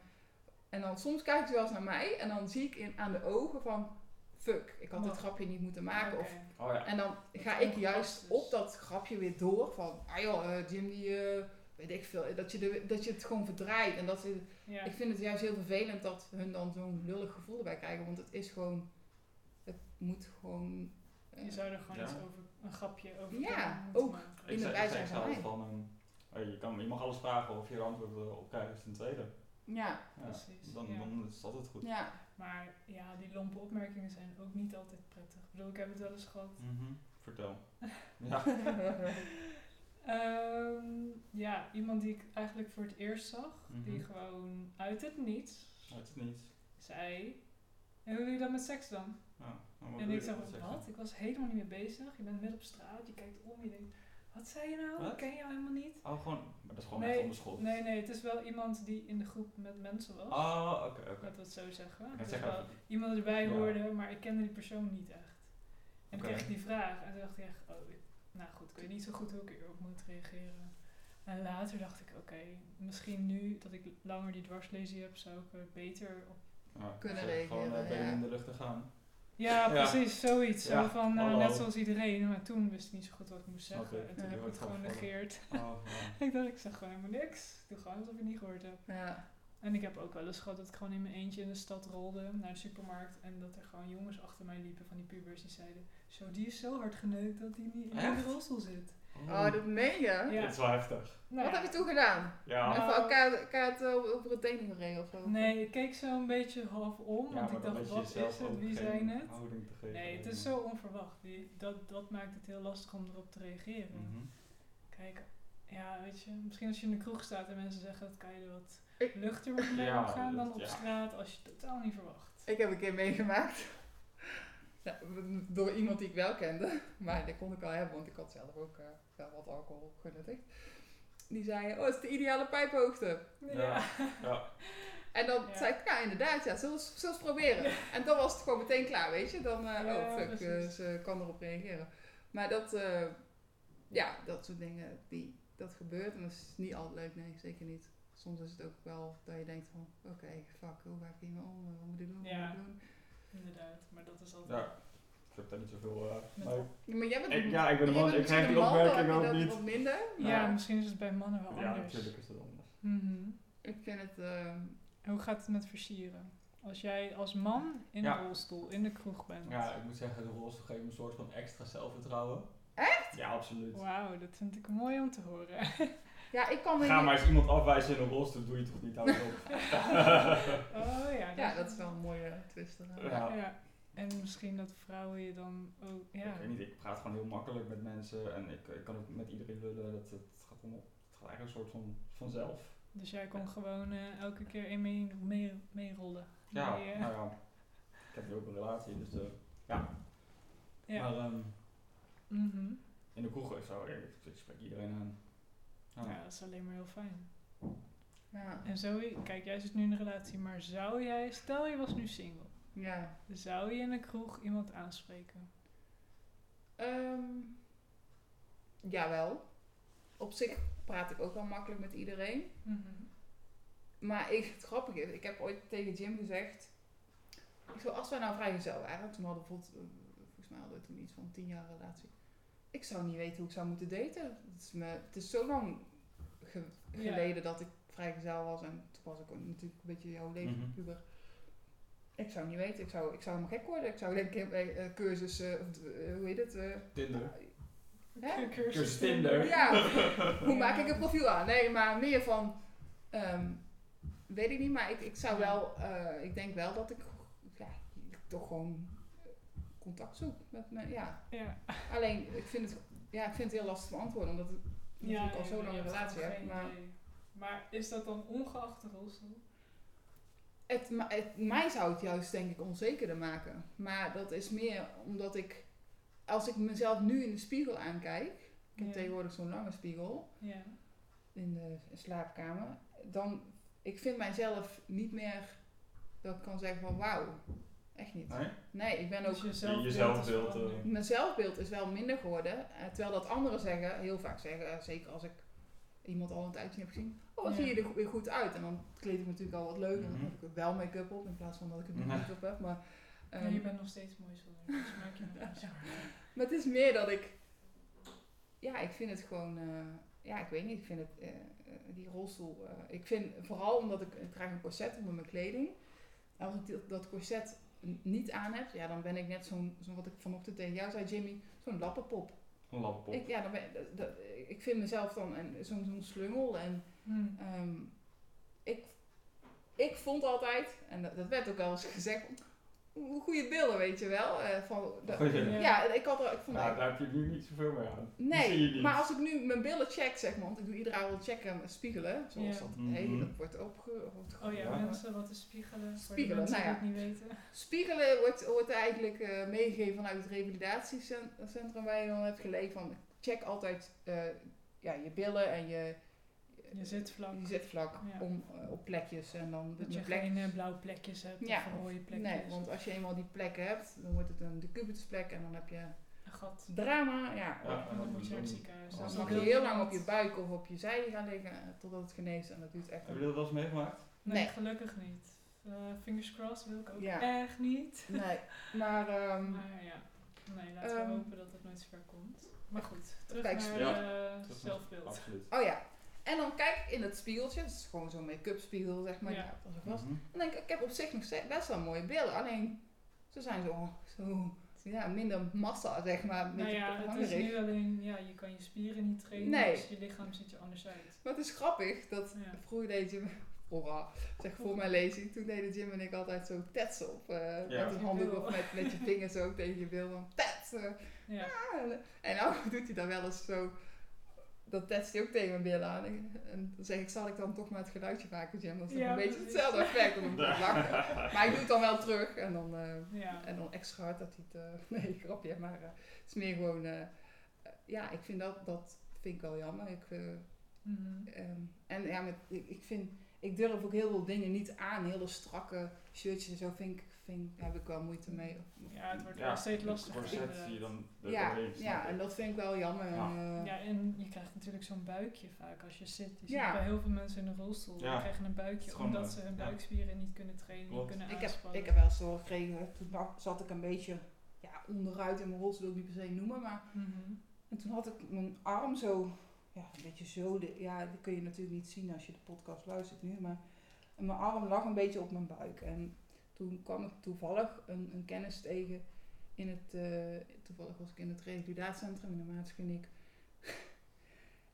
Speaker 2: En dan soms kijken ze wel eens naar mij en dan zie ik in, aan de ogen van. Fuck, ik had dit
Speaker 3: Oh.
Speaker 2: grapje niet moeten maken. Of
Speaker 3: Oké.
Speaker 1: Oh ja.
Speaker 2: en dan ga
Speaker 3: is
Speaker 2: ik juist
Speaker 3: ongepast dus.
Speaker 2: op dat grapje weer door van, ah joh, eh, Jim die, eh, weet ik veel, dat je, de, dat je het gewoon verdraait. En dat ze-
Speaker 3: ja.
Speaker 2: ik vind het juist heel vervelend dat hun dan zo'n lullig gevoel erbij krijgen, want het is gewoon, het moet gewoon, eh,
Speaker 3: je zou er gewoon
Speaker 1: Ja.
Speaker 3: iets over, een grapje over
Speaker 2: Ja,
Speaker 3: kunnen moeten
Speaker 2: ook.
Speaker 3: maken.
Speaker 1: Ik
Speaker 2: in
Speaker 1: zei,
Speaker 2: het
Speaker 1: ik
Speaker 2: bijzijn
Speaker 1: zei
Speaker 2: van
Speaker 1: zelf
Speaker 2: mij.
Speaker 1: van, ehm, hey, je, kan, je mag alles vragen of je er antwoord eh, op krijgt is een tweede.
Speaker 2: ja,
Speaker 1: Ja,
Speaker 3: Precies,
Speaker 1: Dan,
Speaker 3: ja.
Speaker 1: dan is het altijd goed.
Speaker 2: ja,
Speaker 3: Maar ja, die lompe opmerkingen zijn ook niet altijd prettig. Ik bedoel, ik heb het wel eens gehad.
Speaker 1: Mhm, Vertel.
Speaker 3: (laughs)
Speaker 1: ja.
Speaker 3: Ehm, ja, iemand die ik eigenlijk voor het eerst zag, die
Speaker 1: Mhm.
Speaker 3: gewoon uit het niets
Speaker 1: Uit het niet.
Speaker 3: zei: En hoe doe je dat met seks dan?
Speaker 1: Ja, nou, dan moet
Speaker 3: En ik
Speaker 1: je
Speaker 3: dacht,
Speaker 1: zeggen.
Speaker 3: wat? Ik was helemaal niet mee bezig. Je bent midden op straat, je kijkt om, je denkt, wat zei je nou? Ik
Speaker 1: Wat?
Speaker 3: ken jou helemaal niet.
Speaker 1: Oh, gewoon, maar dat is gewoon
Speaker 3: Nee,
Speaker 1: echt onbeschot.
Speaker 3: Nee, nee, het is wel iemand die in de groep met mensen was.
Speaker 1: Oh, oké, oké.
Speaker 3: Laten we het zo zeggen.
Speaker 1: Ik
Speaker 3: Dus
Speaker 1: had zeggen,
Speaker 3: wel iemand erbij
Speaker 1: Ja.
Speaker 3: hoorde, maar ik kende die persoon niet echt. En
Speaker 1: Oké.
Speaker 3: kreeg ik die vraag en toen dacht ik echt, oh, ik- nou goed, ik weet niet zo goed hoe ik hierop moet reageren. En later dacht ik, oké, misschien nu dat ik langer die dwarslesie heb, zou ik er beter op...
Speaker 1: ja,
Speaker 2: Kunnen
Speaker 1: ik zeg, Gewoon
Speaker 2: reageren,
Speaker 1: eh, benen
Speaker 2: ja.
Speaker 1: in de lucht te gaan.
Speaker 3: Ja,
Speaker 1: Ja.
Speaker 3: precies, zoiets. Zo
Speaker 1: Ja,
Speaker 3: van, nou,
Speaker 1: hallo.
Speaker 3: net zoals iedereen, maar toen wist ik niet zo goed wat ik moest
Speaker 1: Snap
Speaker 3: zeggen.
Speaker 1: ik.
Speaker 3: En toen
Speaker 2: Ja.
Speaker 3: heb ik het gewoon
Speaker 1: Ja.
Speaker 3: negeerd. (laughs)
Speaker 1: Oh, ja.
Speaker 3: Ik dacht, ik zeg gewoon helemaal niks. Ik doe gewoon alsof ik het niet gehoord heb.
Speaker 2: ja,
Speaker 3: En ik heb ook wel eens gehad dat ik gewoon in mijn eentje in de stad rolde naar de supermarkt. En dat er gewoon jongens achter mij liepen van die pubers die zeiden... Zo, die is zo hard geneukt dat hij niet in de
Speaker 1: Echt?
Speaker 3: rolstoel zit.
Speaker 2: oh, dat meen je?
Speaker 3: Ja.
Speaker 1: Dit is wel heftig.
Speaker 3: Nou
Speaker 2: Wat
Speaker 3: ja.
Speaker 2: heb je toen gedaan?
Speaker 1: Ja.
Speaker 3: Nou,
Speaker 2: Even elkaar, elkaar het eh, over het tenen gereden of zo?
Speaker 3: Nee, ik keek zo een beetje half om.
Speaker 1: Ja,
Speaker 3: want
Speaker 1: maar
Speaker 3: ik
Speaker 1: dan
Speaker 3: dacht,
Speaker 1: weet je
Speaker 3: wat
Speaker 1: jezelf
Speaker 3: is het?
Speaker 1: ook
Speaker 3: Wie
Speaker 1: geen
Speaker 3: zijn het?
Speaker 1: houding te geven.
Speaker 3: Nee, het is zo onverwacht. Die, dat, dat maakt het heel lastig om erop te reageren.
Speaker 1: Mhm.
Speaker 3: Kijk, ja, weet je, misschien als je in de kroeg staat en mensen zeggen dat, kan je er wat
Speaker 2: Ik-
Speaker 3: luchter mee
Speaker 1: Ja,
Speaker 3: omgaan dan
Speaker 1: dat-
Speaker 3: op
Speaker 1: ja.
Speaker 3: straat als je het totaal niet verwacht.
Speaker 2: Ik heb een keer meegemaakt. Ja, door iemand die ik wel kende. Maar die kon ik wel hebben, want ik had zelf ook eh, wel wat alcohol genuttigd. Die zei, oh, het is de ideale pijphoogte.
Speaker 1: Ja. Ja.
Speaker 2: En dan
Speaker 3: Ja.
Speaker 2: zei ik, ja, inderdaad, ja, zullen we eens- zullen we eens proberen. En dan was het gewoon meteen klaar, weet je. Dan, eh,
Speaker 3: Ja,
Speaker 2: oh, fuck, eh,
Speaker 3: precies.
Speaker 2: ze kan erop reageren. Maar dat, eh, ja, dat soort dingen, die, dat gebeurt. En dat is niet altijd leuk, nee, zeker niet. Soms is het ook wel dat je denkt van, oké, fuck, hoe ga ik hiermee om? Eh, Wat moet ik doen? Wat
Speaker 3: Ja.
Speaker 2: moet ik doen?
Speaker 3: (laughs) Inderdaad, maar dat is altijd...
Speaker 1: Ja. Ik heb daar niet zoveel... eh,
Speaker 3: Met-
Speaker 1: mee.
Speaker 2: Ja, maar jij bent
Speaker 1: Ik- ja, ik ben een man,
Speaker 2: jij
Speaker 1: ik
Speaker 2: bent
Speaker 1: krijg die
Speaker 2: misschien een man,
Speaker 1: opmerking
Speaker 2: dan heb je
Speaker 1: ook
Speaker 2: dat
Speaker 1: niet.
Speaker 2: Wat minder.
Speaker 3: Ja,
Speaker 1: Ja.
Speaker 3: misschien is het bij mannen wel
Speaker 1: Ja,
Speaker 3: anders.
Speaker 1: natuurlijk is dat anders.
Speaker 3: Mhm.
Speaker 2: Ik vind het, ehm,
Speaker 3: Hoe gaat het met versieren? Als jij als man in
Speaker 1: Ja.
Speaker 3: een rolstoel in de kroeg bent.
Speaker 1: Ja, ik moet zeggen, de rolstoel geeft me een soort van extra zelfvertrouwen.
Speaker 2: Echt?
Speaker 1: Ja, absoluut.
Speaker 3: Wauw, dat vind ik mooi om te
Speaker 1: (laughs)
Speaker 3: horen.
Speaker 2: Ja, ik kan me
Speaker 1: Ga
Speaker 2: niet-
Speaker 1: maar eens iemand afwijzen in een rolstoel, doe je toch niet, hou op.
Speaker 3: Oh ja.
Speaker 2: Ja, dat is wel een mooie twist. eraan.
Speaker 1: Ja.
Speaker 3: Ja. En misschien dat vrouwen je dan ook. Ja.
Speaker 1: Ik weet niet, ik praat gewoon heel makkelijk met mensen en ik, ik kan ook met iedereen lullen. Dat, dat gaat allemaal, het gaat eigenlijk een soort van vanzelf.
Speaker 3: Dus jij kon gewoon eh, elke keer in mee, mee, meerollen.
Speaker 1: Ja,
Speaker 3: Mee, eh,
Speaker 1: nou ja. Ik heb nu ook een relatie, dus eh,
Speaker 3: ja.
Speaker 1: maar ehm,
Speaker 3: Mhm.
Speaker 1: in de kroeg is zo, ja, ik, ik spreek iedereen aan. Ja.
Speaker 3: ja, dat is alleen maar heel fijn.
Speaker 2: Ja.
Speaker 3: En Zoe, kijk, jij zit nu in een relatie, maar zou jij, stel je was nu single,
Speaker 2: ja.
Speaker 3: zou je in een kroeg iemand aanspreken?
Speaker 2: Ehm, jawel. Op zich praat ik ook wel makkelijk met iedereen.
Speaker 3: Mhm.
Speaker 2: Maar ik, het grappige is, ik heb ooit tegen Jim gezegd. Ik zou, als wij nou vrijgezel waren, toen hadden we bijvoorbeeld, eh, volgens mij hadden we toen iets van tien jaar relatie. Ik zou niet weten hoe ik zou moeten daten. Het is, me, het is zo lang ge-
Speaker 3: Ja.
Speaker 2: geleden dat ik vrijgezel was en toen was ik ook natuurlijk een beetje jouw leven
Speaker 1: Mhm.
Speaker 2: puber. Ik zou niet weten, ik zou, ik zou helemaal gek worden. Ik zou denk ik eh, eh, cursussen, of eh, hoe heet het? eh,
Speaker 1: Tinder.
Speaker 2: hè?
Speaker 1: Cursus Tinder.
Speaker 2: Ja, hoe maak ik een profiel aan? Nee, maar meer van, ehm, weet ik niet, maar ik, ik zou wel, eh, ik denk wel dat ik, ja, toch gewoon contact zoek met me. Ja,
Speaker 3: Ja,
Speaker 2: alleen ik vind het, ja, ik vind het heel lastig te beantwoorden, omdat ik natuurlijk al
Speaker 3: nee,
Speaker 2: zo
Speaker 3: je
Speaker 2: lang een
Speaker 3: hebt
Speaker 2: relatie
Speaker 3: gewoon
Speaker 2: heb.
Speaker 3: geen
Speaker 2: Maar
Speaker 3: idee. Maar is dat dan ongeacht de rolstoel?
Speaker 2: het, ma- het, mij zou het juist denk ik onzekerder maken. Maar dat is meer omdat ik, als ik mezelf nu in de spiegel aankijk, ik heb
Speaker 3: Ja.
Speaker 2: tegenwoordig zo'n lange spiegel,
Speaker 3: Ja.
Speaker 2: in de slaapkamer, dan ik vind mijzelf niet meer dat ik kan zeggen van wauw, echt niet.
Speaker 1: Nee?
Speaker 2: Nee, ik ben ook
Speaker 3: Dus jezelf
Speaker 1: jezelf wilt, eh,
Speaker 2: mijn zelfbeeld is wel minder geworden, eh, terwijl dat anderen zeggen, heel vaak zeggen, eh, zeker als ik iemand al een tijdje heb gezien, oh wat
Speaker 3: Ja.
Speaker 2: zie je er go- weer goed uit en dan kleed ik me natuurlijk al wat leuker, en
Speaker 1: Mhm.
Speaker 2: dan heb ik wel make-up op in plaats van dat ik het niet
Speaker 1: Mhm.
Speaker 2: make-up heb, maar, ehm,
Speaker 3: je bent nog steeds mooi zonder, dus maak je nog
Speaker 2: (laughs)
Speaker 3: niet zorgen.
Speaker 2: maar het is meer dat ik, ja, ik vind het gewoon, eh, ja, ik weet niet, ik vind het, eh, eh, die rolstoel, eh, ik vind vooral omdat ik, ik draag een corset onder mijn kleding. En als ik dat, dat corset n- niet aan heb, ja, dan ben ik net zo'n, zo'n wat ik vanochtend tegen jou zei, Jimmy, zo'n lappenpop.
Speaker 1: Een lappop. (laughs)
Speaker 2: Ik, ja, dan ben, dat- dat- ik vind mezelf dan een, zo'n, zo'n slungel en
Speaker 3: Hm.
Speaker 2: ehm, ik, ik vond altijd, en dat, dat werd ook wel eens gezegd, goede beelden, weet je wel. eh, van, dat-
Speaker 1: Goeie zin.
Speaker 3: Ja.
Speaker 2: ja, ik had er, ik vond
Speaker 1: Nou, daar heb je nu niet zoveel mee aan. Die zie je
Speaker 2: Nee,
Speaker 1: niet.
Speaker 2: maar als ik nu mijn billen check, zeg maar, want ik doe iedere avond checken en spiegelen, zoals
Speaker 3: Ja.
Speaker 2: dat
Speaker 1: Mhm.
Speaker 2: heet, dat wordt opge... wordt
Speaker 3: Oh ja,
Speaker 1: Ja.
Speaker 3: mensen, wat is spiegelen?
Speaker 2: Spiegelen,
Speaker 3: Voor de mensen
Speaker 2: nou ja.
Speaker 3: die het niet weten.
Speaker 2: Spiegelen wordt, wordt eigenlijk eh, meegegeven vanuit het revalidatiecentrum waar je dan hebt gelegen van, check altijd eh, ja, je billen en je,
Speaker 3: Je zit vlak.
Speaker 2: Eh, je zitvlak
Speaker 3: Ja.
Speaker 2: om, eh, op plekjes en dan
Speaker 3: Dat
Speaker 2: de
Speaker 3: je
Speaker 2: plek-
Speaker 3: geen eh, blauwe plekjes hebt
Speaker 2: Ja,
Speaker 3: of rode plekjes.
Speaker 2: Nee, want als je eenmaal die plekken hebt, dan wordt het een decubitusplek en dan heb je
Speaker 3: Een gat.
Speaker 2: drama, ja.
Speaker 1: Ja.
Speaker 3: En dan moet je naar het ziekenhuis.
Speaker 2: Dus
Speaker 1: Als een
Speaker 2: dan mag je
Speaker 1: beeld
Speaker 2: heel lang op je buik of op je zij gaan liggen eh, totdat het geneest en dat duurt echt
Speaker 1: Heb je dat wel eens meegemaakt?
Speaker 3: Nee,
Speaker 2: Nee.
Speaker 3: gelukkig niet. Eh, fingers crossed wil ik ook
Speaker 2: Ja.
Speaker 3: echt niet.
Speaker 2: Nee, maar ehm,
Speaker 3: Maar Ah, ja, nee, laten
Speaker 2: Ehm.
Speaker 3: we hopen dat het nooit zover komt. Maar goed, terug
Speaker 2: Kijk,
Speaker 3: naar
Speaker 1: Ja.
Speaker 3: eh,
Speaker 1: Terug naar-
Speaker 3: zelfbeeld.
Speaker 1: Absoluut.
Speaker 2: oh ja. En dan kijk ik in het spiegeltje, dat is gewoon zo'n make-up spiegel, zeg maar.
Speaker 3: Ja.
Speaker 2: Ja. dat was ook vast.
Speaker 1: Mhm.
Speaker 2: En dan denk ik, ik heb op zich nog steeds best wel mooie beelden, alleen ze zijn zo, zo ja, minder massa, zeg maar. een
Speaker 3: Nou
Speaker 2: beetje
Speaker 3: ja, het is
Speaker 2: hangerig.
Speaker 3: nu alleen, ja, je kan je spieren niet trainen,
Speaker 2: Nee.
Speaker 3: dus je lichaam ziet er anders uit.
Speaker 2: Maar het is grappig dat
Speaker 3: Ja.
Speaker 2: vroeger deed Jim, vroeger, zeg voor mijn lazy, toen deden Jim en ik altijd zo tetsen op. eh,
Speaker 1: Ja.
Speaker 2: Met een handdoek of met, met je vingers ook tegen je bil van tetsen.
Speaker 3: Ja.
Speaker 2: En nou (laughs) doet hij dan wel eens zo, dat tetst hij ook tegen mijn billen aan. En dan zeg ik, zal ik dan toch maar het geluidje maken, Jim? Dat is toch
Speaker 3: Ja,
Speaker 2: een beetje
Speaker 3: precies.
Speaker 2: hetzelfde effect, dan moet
Speaker 1: (laughs)
Speaker 2: ik lachen. Maar ik doe het dan wel terug en dan... eh,
Speaker 3: ja.
Speaker 2: en dan extra hard dat hij het... eh, (laughs) nee, grapje. Maar eh, het is meer gewoon... eh, eh, ja, ik vind dat... Dat vind ik wel jammer. Ik, eh,
Speaker 3: Mhm.
Speaker 2: ehm, en ja, met, ik, ik vind... Ik durf ook heel veel dingen niet aan. Hele strakke shirtjes en zo vind ik... Vind, daar heb ik wel moeite mee.
Speaker 3: ja, het wordt
Speaker 1: Ja,
Speaker 3: wel steeds
Speaker 1: het
Speaker 3: lastiger.
Speaker 1: corset
Speaker 3: inderdaad.
Speaker 1: zie je dan er
Speaker 2: ja,
Speaker 1: doorheen, snap
Speaker 2: ja,
Speaker 1: ik.
Speaker 2: en dat vind ik wel jammer. En, eh,
Speaker 3: Ja, en je krijgt natuurlijk zo'n buikje vaak als je zit. Dus Je
Speaker 2: Ja.
Speaker 3: ziet bij heel veel mensen in een rolstoel, die
Speaker 1: Ja.
Speaker 3: krijgen een
Speaker 1: Het is
Speaker 3: buikje
Speaker 1: gewoon,
Speaker 3: omdat
Speaker 1: eh,
Speaker 3: ze hun
Speaker 1: ja.
Speaker 3: buikspieren niet kunnen trainen, niet
Speaker 1: Klopt.
Speaker 3: kunnen
Speaker 2: ik, heb,
Speaker 3: aanspannen.
Speaker 2: ik heb wel eens hoor gekregen... Toen had- zat ik een beetje... Ja, onderuit in mijn rolstoel wil ik niet per se noemen, maar...
Speaker 3: Mhm.
Speaker 2: En toen had ik mijn arm zo, ja, een beetje zo. de- ja, dat kun je natuurlijk niet zien als je de podcast luistert nu, maar een En mijn arm lag een beetje op mijn buik. En toen kwam ik toevallig een, een kennis tegen in het... eh, toevallig was ik in het revalidatiecentrum in de maatskliniek. (laughs)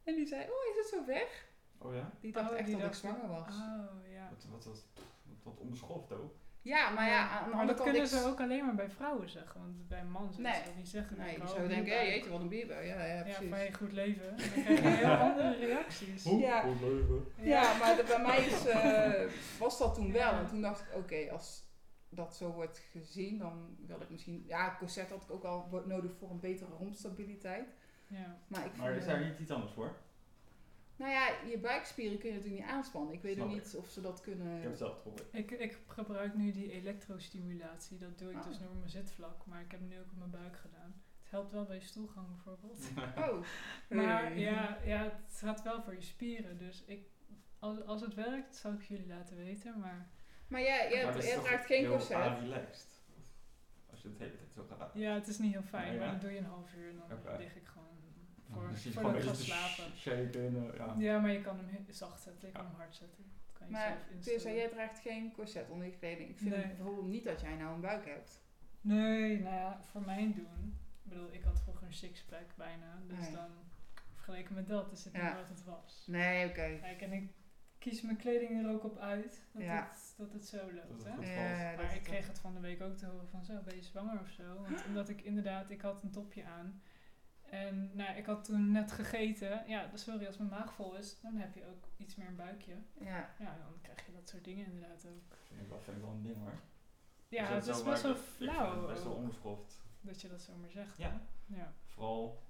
Speaker 2: en die zei, oh, is het zo weg?
Speaker 1: Oh ja?
Speaker 2: Die dacht
Speaker 3: Oh,
Speaker 2: echt
Speaker 3: die
Speaker 2: dat
Speaker 3: dacht-
Speaker 2: ik zwanger was.
Speaker 3: Oh, ja.
Speaker 1: Wat, wat, wat, wat, wat onbeschoft ook.
Speaker 2: Ja, maar ja, aan de
Speaker 3: maar
Speaker 2: andere
Speaker 3: dat
Speaker 2: kant...
Speaker 3: kunnen
Speaker 2: ik-
Speaker 3: ze ook alleen maar bij vrouwen zeggen. Want bij een man zouden
Speaker 2: Nee.
Speaker 3: ze dat niet zeggen. Dan oh,
Speaker 2: Nee, je
Speaker 3: kan
Speaker 2: zou
Speaker 3: ook
Speaker 2: denken,
Speaker 3: niet
Speaker 2: hé,
Speaker 3: bij-
Speaker 2: jeetje, wat een bierbuik. Ja, ja,
Speaker 3: Ja,
Speaker 2: precies.
Speaker 3: van je goed leven. Dan krijg je heel andere reacties.
Speaker 1: Hoe?
Speaker 2: Ja.
Speaker 1: Goed leven.
Speaker 2: Ja, maar de- bij mij is,
Speaker 3: (laughs)
Speaker 2: eh, was dat toen wel.
Speaker 3: Ja.
Speaker 2: En toen dacht ik, oké, als dat zo wordt gezien, dan wil ik misschien... Ja, corset had ik ook al wo- nodig voor een betere rompstabiliteit.
Speaker 3: Ja.
Speaker 2: Maar ik
Speaker 1: Maar
Speaker 2: vond,
Speaker 1: is
Speaker 2: eh,
Speaker 1: daar niet iets anders voor?
Speaker 2: Nou ja, je buikspieren kun je natuurlijk niet aanspannen. Ik weet
Speaker 1: Snap
Speaker 2: ook
Speaker 1: ik.
Speaker 2: niet of ze dat
Speaker 1: Ik heb
Speaker 2: kunnen...
Speaker 1: het zelf geprobeerd.
Speaker 3: Ik, ik gebruik nu die elektrostimulatie. Dat doe ik
Speaker 2: Ah.
Speaker 3: dus door mijn zitvlak. Maar ik heb hem nu ook op mijn buik gedaan. Het helpt wel bij je stoelgang bijvoorbeeld.
Speaker 2: Oh.
Speaker 3: (laughs) Maar
Speaker 2: Hey.
Speaker 3: ja, ja, het gaat wel voor je spieren. Dus ik, als, als het werkt, zal ik jullie laten weten. Maar
Speaker 2: Maar jij, jij,
Speaker 1: Maar dat is
Speaker 2: jij
Speaker 1: toch
Speaker 2: draagt geen
Speaker 1: heel
Speaker 2: corset.
Speaker 1: relaxed. Als je het de hele tijd zo gaat.
Speaker 3: ja, het is niet heel fijn.
Speaker 1: Nou ja.
Speaker 3: Maar dan doe je een half uur en dan
Speaker 1: Oké.
Speaker 3: lig ik gewoon
Speaker 1: Dan
Speaker 3: voor,
Speaker 1: zit je
Speaker 3: voordat
Speaker 1: gewoon
Speaker 3: ik ga
Speaker 1: een beetje te
Speaker 3: slapen.
Speaker 1: sh- shaken. eh, ja.
Speaker 3: Ja, maar je kan hem he- zacht zetten. Je kan hem hard zetten. Dat kan je
Speaker 2: Maar
Speaker 3: zelf
Speaker 2: Tessa,
Speaker 3: instellen.
Speaker 2: jij draagt geen corset onder je kleding. Ik vind
Speaker 3: Nee.
Speaker 2: het bijvoorbeeld niet dat jij nou een buik hebt.
Speaker 3: Nee, nou ja, voor mijn doen. Ik bedoel, ik had vroeger een sixpack bijna. Dus
Speaker 2: Ah, ja.
Speaker 3: dan, vergeleken met dat, is het
Speaker 2: Ja.
Speaker 3: niet wat het was.
Speaker 2: Nee, oké.
Speaker 3: Kijk, en ik kies mijn kleding er ook op uit. Dat,
Speaker 2: Ja.
Speaker 3: het, dat het zo loopt,
Speaker 1: het
Speaker 3: hè.
Speaker 1: goed
Speaker 2: Ja, dat
Speaker 3: Maar ik
Speaker 2: is
Speaker 3: kreeg het van de week ook te horen van zo, ben je zwanger of zo?
Speaker 2: (gasps)
Speaker 3: Want omdat ik inderdaad, ik had een topje aan. En nou, ik had toen net gegeten. Ja, dus sorry, als mijn maag vol is, dan heb je ook iets meer een buikje.
Speaker 2: Ja.
Speaker 3: Ja, dan krijg je dat soort dingen inderdaad ook.
Speaker 1: Vind ik wel, vind ik wel een ding hoor.
Speaker 3: Ja,
Speaker 1: Als je Dus dat
Speaker 3: het
Speaker 1: zo
Speaker 3: is
Speaker 1: maakt,
Speaker 3: best wel
Speaker 1: ik vind het
Speaker 3: flauw
Speaker 1: Best wel
Speaker 3: ook,
Speaker 1: onbeschoft.
Speaker 3: dat je dat zomaar zegt.
Speaker 1: Ja.
Speaker 3: hè? ja.
Speaker 1: Vooral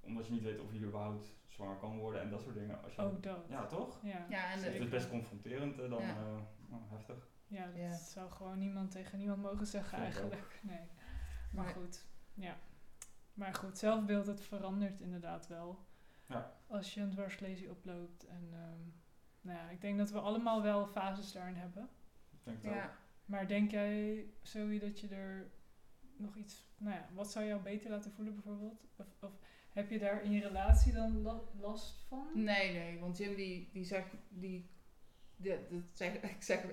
Speaker 1: omdat je niet weet of je überhaupt zwanger kan worden en dat soort dingen. Als je
Speaker 3: Oh, dat.
Speaker 1: Ja, toch?
Speaker 3: Ja,
Speaker 2: Ja, en de-
Speaker 1: Het
Speaker 3: zeker.
Speaker 1: is best confronterend eh, dan
Speaker 2: Ja.
Speaker 1: eh, nou, heftig.
Speaker 3: Ja, dat
Speaker 2: Ja.
Speaker 3: zou gewoon niemand tegen niemand mogen zeggen
Speaker 1: Vind ik ook.
Speaker 3: eigenlijk. Nee. Maar
Speaker 2: Nee.
Speaker 3: goed, ja. Maar goed, zelfbeeld, dat verandert inderdaad wel.
Speaker 1: Ja.
Speaker 3: Als je een dwarslesie oploopt. En ehm, nou ja, ik denk dat we allemaal wel fases daarin hebben.
Speaker 1: Ik denk dat
Speaker 2: Ja.
Speaker 3: Maar denk jij, Zoe, dat je er nog iets... Nou ja, wat zou jou beter laten voelen bijvoorbeeld? Of, of heb je daar in je relatie dan la- last van?
Speaker 2: Nee, nee, want Jim die, die zegt, die, die- dat zeg, (laughs) ik zeg,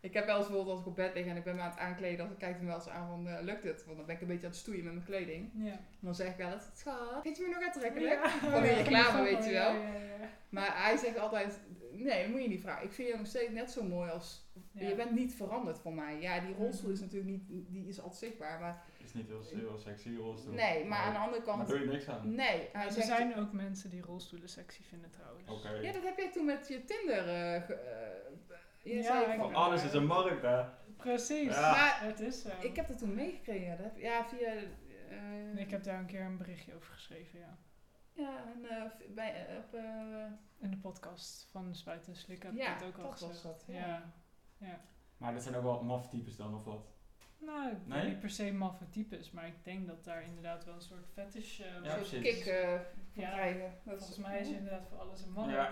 Speaker 2: ik heb wel eens bijvoorbeeld als ik op bed lig en ik ben me aan het aankleden, dan kijkt hij me wel eens aan van, eh, lukt het? Want dan ben ik een beetje aan het stoeien met mijn kleding.
Speaker 3: Ja.
Speaker 2: En dan zeg ik wel eens, schat, vind je me nog aantrekkelijk?
Speaker 3: Ja.
Speaker 2: Van die reclame, weet je wel.
Speaker 3: Ja, ja, ja.
Speaker 2: Maar hij zegt altijd, nee, dat moet je niet vragen. Ik vind je nog steeds net zo mooi als,
Speaker 3: Ja.
Speaker 2: je bent niet veranderd voor mij. Ja, die rolstoel is
Speaker 3: Mhm.
Speaker 2: natuurlijk niet, die is altijd zichtbaar, maar
Speaker 1: is niet heel, heel sexy rolstoel.
Speaker 2: nee, maar aan de andere
Speaker 1: Maar doe
Speaker 2: kant,
Speaker 1: je niks aan.
Speaker 2: nee. Hij
Speaker 3: er
Speaker 2: zegt,
Speaker 3: zijn ook mensen die rolstoelen sexy vinden trouwens.
Speaker 1: Oké.
Speaker 2: ja, dat heb jij toen met je Tinder, eh, ge- eh, je
Speaker 3: Ja,
Speaker 2: zei
Speaker 3: ik-
Speaker 2: van,
Speaker 1: Van alles is een markt hè.
Speaker 3: Precies.
Speaker 1: Ja.
Speaker 2: Maar
Speaker 3: Het is zo.
Speaker 2: Ik heb dat toen meegekregen, ja. Dat heb- ja, via... eh,
Speaker 3: En ik heb daar een keer een berichtje over geschreven, ja.
Speaker 2: Ja, en, eh, v- bij, eh, op... eh,
Speaker 3: In de podcast van Spuit en Slik heb ik
Speaker 2: Ja,
Speaker 3: dat ook al
Speaker 2: dat was
Speaker 3: gezegd.
Speaker 2: dat, ja.
Speaker 3: ja.
Speaker 1: Maar dat zijn ook wel maf-types dan of wat?
Speaker 3: Nou, ik ben
Speaker 1: Nee?
Speaker 3: niet per se maffe types, maar ik denk dat daar inderdaad wel een soort fetish... eh,
Speaker 1: Ja,
Speaker 2: zo'n
Speaker 1: precies.
Speaker 2: kick eh, van
Speaker 3: Ja,
Speaker 2: krijgen. Dat
Speaker 3: Volgens mij is Oh. inderdaad voor alles een man. (laughs)
Speaker 1: Ja.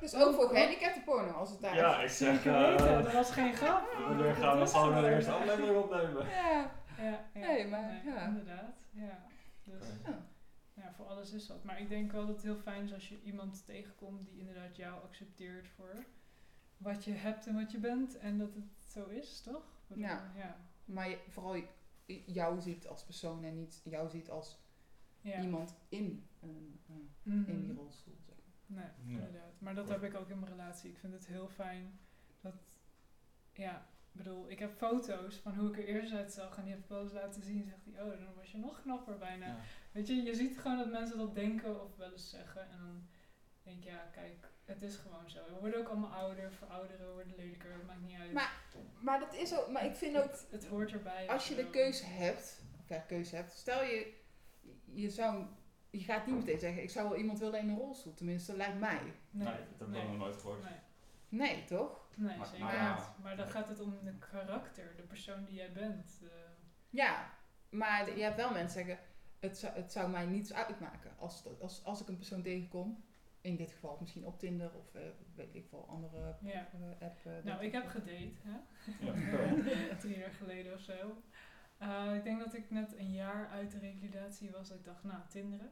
Speaker 2: Dus ook voor gehandicapten porno, als het daar
Speaker 1: Ja,
Speaker 2: is.
Speaker 1: ik (laughs) zeg.
Speaker 3: Zeker
Speaker 1: eh,
Speaker 3: weten, dat was geen grap.
Speaker 1: (laughs) We gaan we
Speaker 3: Dat is
Speaker 1: gewoon
Speaker 3: zo.
Speaker 1: de eerste aflevering opnemen.
Speaker 2: Ja.
Speaker 3: Ja, ja.
Speaker 2: Nee, maar ja.
Speaker 3: Inderdaad, ja. Dus...
Speaker 1: Oké.
Speaker 2: Ja.
Speaker 3: Ja, voor alles is dat. Maar ik denk wel dat het heel fijn is als je iemand tegenkomt die inderdaad jou accepteert voor wat je hebt en wat je bent. En dat het zo is, toch? Ik bedoel,
Speaker 2: Ja.
Speaker 3: ja.
Speaker 2: Maar je- vooral j- jou ziet als persoon en niet jou ziet als
Speaker 3: Ja.
Speaker 2: iemand in, een, eh,
Speaker 3: Mhm.
Speaker 2: in die rolstoel. Zeg. maar.
Speaker 3: Nee,
Speaker 1: Ja.
Speaker 3: inderdaad. Maar dat
Speaker 1: Klopt.
Speaker 3: heb ik ook in mijn relatie. Ik vind het heel fijn dat... Ja, ik bedoel, ik heb foto's van hoe ik er eerst uitzag en die heb ik wel eens laten zien. Zegt hij, oh, dan was je nog knapper bijna.
Speaker 1: Ja.
Speaker 3: Weet je, je ziet gewoon dat mensen dat denken of wel eens zeggen. En dan denk ik, ja, kijk, het is gewoon zo. We worden ook allemaal ouder, verouderen, we worden lelijker, het maakt niet uit.
Speaker 2: Maar Maar dat is ook... Maar ik vind ook...
Speaker 3: het, het hoort erbij.
Speaker 2: Als je de keuze hebt, of ja, keuze hebt, stel je, je zou, je gaat niet meteen zeggen, ik zou wel iemand willen in een rolstoel, tenminste, lijkt mij.
Speaker 1: Nee, dat heb ik
Speaker 3: nee,
Speaker 1: nog nooit gehoord.
Speaker 3: Nee,
Speaker 2: Nee, toch?
Speaker 3: nee
Speaker 1: Maar-
Speaker 3: zeker
Speaker 1: maar
Speaker 2: ja.
Speaker 3: niet. Maar dan gaat het om de karakter, de persoon die jij bent. eh, de-
Speaker 2: Ja, maar de- je hebt wel mensen zeggen, het zou, het zou mij niets uitmaken als, dat- als, als ik een persoon tegenkom. In dit geval misschien op Tinder of eh, weet ik veel, andere
Speaker 3: ja.
Speaker 2: eh, app. eh, dat-
Speaker 3: Nou, ik heb gedate, hè?
Speaker 1: Ja.
Speaker 3: drie jaar geleden of zo. Eh, ik denk dat ik net een
Speaker 2: (laughs)
Speaker 3: jaar uit de revalidatie was. Dat ik dacht, nou, Tinderen.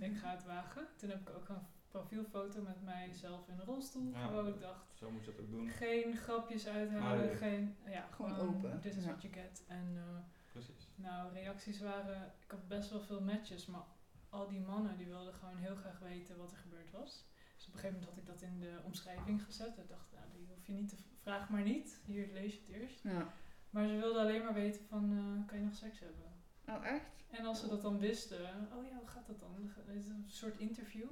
Speaker 3: ik ga het wagen. Toen heb ik ook een profielfoto met mijzelf in een rolstoel.
Speaker 1: Ja.
Speaker 3: Gewoon ik dacht,
Speaker 1: Zo moet je dat ook doen.
Speaker 3: geen grapjes uithalen,
Speaker 1: Nee.
Speaker 3: geen... Ja,
Speaker 2: Gewoon
Speaker 3: gewoon,
Speaker 2: open.
Speaker 3: This is
Speaker 2: Ja.
Speaker 3: what you get. En eh,
Speaker 1: Precies.
Speaker 3: nou, reacties waren... Ik had best wel veel matches, maar al die mannen die wilden gewoon heel graag weten wat er gebeurd was. Dus op een gegeven moment had ik dat in de omschrijving gezet. Ik dacht, nou, die hoef je niet te... Vraag maar niet. Hier lees je het eerst.
Speaker 2: Ja.
Speaker 3: Maar ze wilden alleen maar weten van, eh, kan je nog seks hebben?
Speaker 2: Oh, echt?
Speaker 3: En als ze dat dan wisten, oh ja, hoe gaat dat dan? Het is een soort interview.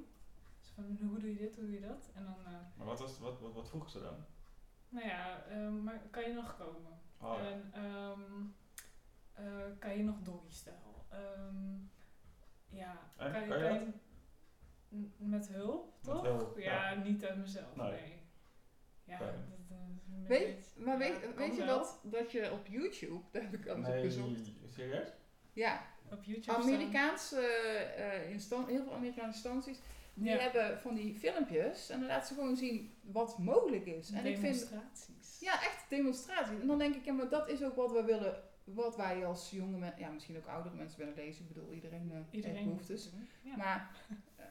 Speaker 3: Zo van, hoe doe je dit, hoe doe je dat? En dan, eh,
Speaker 1: Maar wat, was, wat, wat, wat vroegen ze dan?
Speaker 3: nou ja, eh, maar kan je nog komen?
Speaker 1: Oh, ja.
Speaker 3: En ehm, eh, kan je nog doggy-stijl? Ehm, ja,
Speaker 1: Eh, kan je dat?
Speaker 3: N- met hulp,
Speaker 1: Met
Speaker 3: toch?
Speaker 1: hulp,
Speaker 3: ja,
Speaker 1: ja.
Speaker 3: niet uit mezelf,
Speaker 1: Nee.
Speaker 3: nee. Ja,
Speaker 1: Oké.
Speaker 3: dat, dat is een
Speaker 2: Weet,
Speaker 3: beetje-
Speaker 2: maar
Speaker 3: ja,
Speaker 2: weet,
Speaker 3: kan
Speaker 2: weet je
Speaker 3: wel.
Speaker 2: dat, dat je op YouTube, (laughs) daar heb ik alles op gezocht.
Speaker 1: serieus?
Speaker 2: Ja,
Speaker 3: Op YouTube staan.
Speaker 2: Amerikaanse eh, eh, instan- heel veel Amerikaanse instanties, die
Speaker 3: Ja.
Speaker 2: hebben van die filmpjes en dan laten ze gewoon zien wat mogelijk is. En ik vind,
Speaker 3: Demonstraties.
Speaker 2: ja, echt demonstraties. En dan denk ik, ja, maar dat is ook wat we willen, wat wij als jonge mensen, ja, misschien ook oudere mensen willen lezen. Ik bedoel, iedereen, eh, heeft
Speaker 3: Iedereen moet
Speaker 2: behoeftes.
Speaker 3: het doen. Ja.
Speaker 2: Maar eh,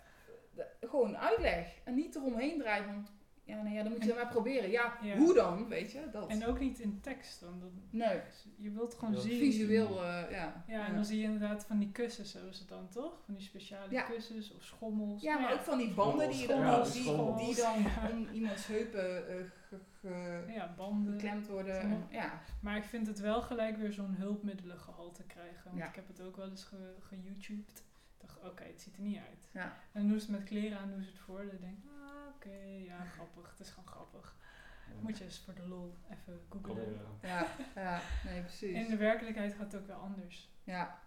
Speaker 2: de- gewoon uitleg. En niet eromheen draaien van... Ja, nou ja, dan moet je dat maar proberen. Ja,
Speaker 3: Ja.
Speaker 2: hoe dan? Weet je, dat.
Speaker 3: En ook niet in tekst, want dan,
Speaker 2: nee,
Speaker 3: je wilt gewoon
Speaker 1: Ja.
Speaker 3: zien.
Speaker 2: visueel, eh, ja.
Speaker 3: Ja, en dan zie je inderdaad van die kussens, zo is het dan toch? Van die speciale
Speaker 2: Ja.
Speaker 3: kussens of schommels.
Speaker 2: Ja, maar
Speaker 3: Nou
Speaker 2: ook van die banden die je dan
Speaker 1: Ja,
Speaker 2: al
Speaker 1: die
Speaker 2: ziet,
Speaker 1: schommels.
Speaker 2: die dan
Speaker 3: Ja.
Speaker 2: om iemands heupen eh, ge- ge-
Speaker 3: ja, banden.
Speaker 2: geklemd worden.
Speaker 3: Ja.
Speaker 2: Ja,
Speaker 3: Maar ik vind het wel gelijk weer zo'n hulpmiddelengehalte krijgen. Want
Speaker 2: Ja.
Speaker 3: ik heb het ook wel eens ge- ge-YouTubed. ik dacht, oké, het ziet er niet uit.
Speaker 2: Ja.
Speaker 3: En dan doen ze het met kleren aan, doen ze het voor. Dan denk ik, ah, oké, ja, (laughs) grappig. Het is gewoon grappig. Moet je eens voor de lol even googlen.
Speaker 1: Proberen.
Speaker 2: ja, ja, nee, precies.
Speaker 3: In de werkelijkheid gaat het ook wel anders.
Speaker 2: Ja,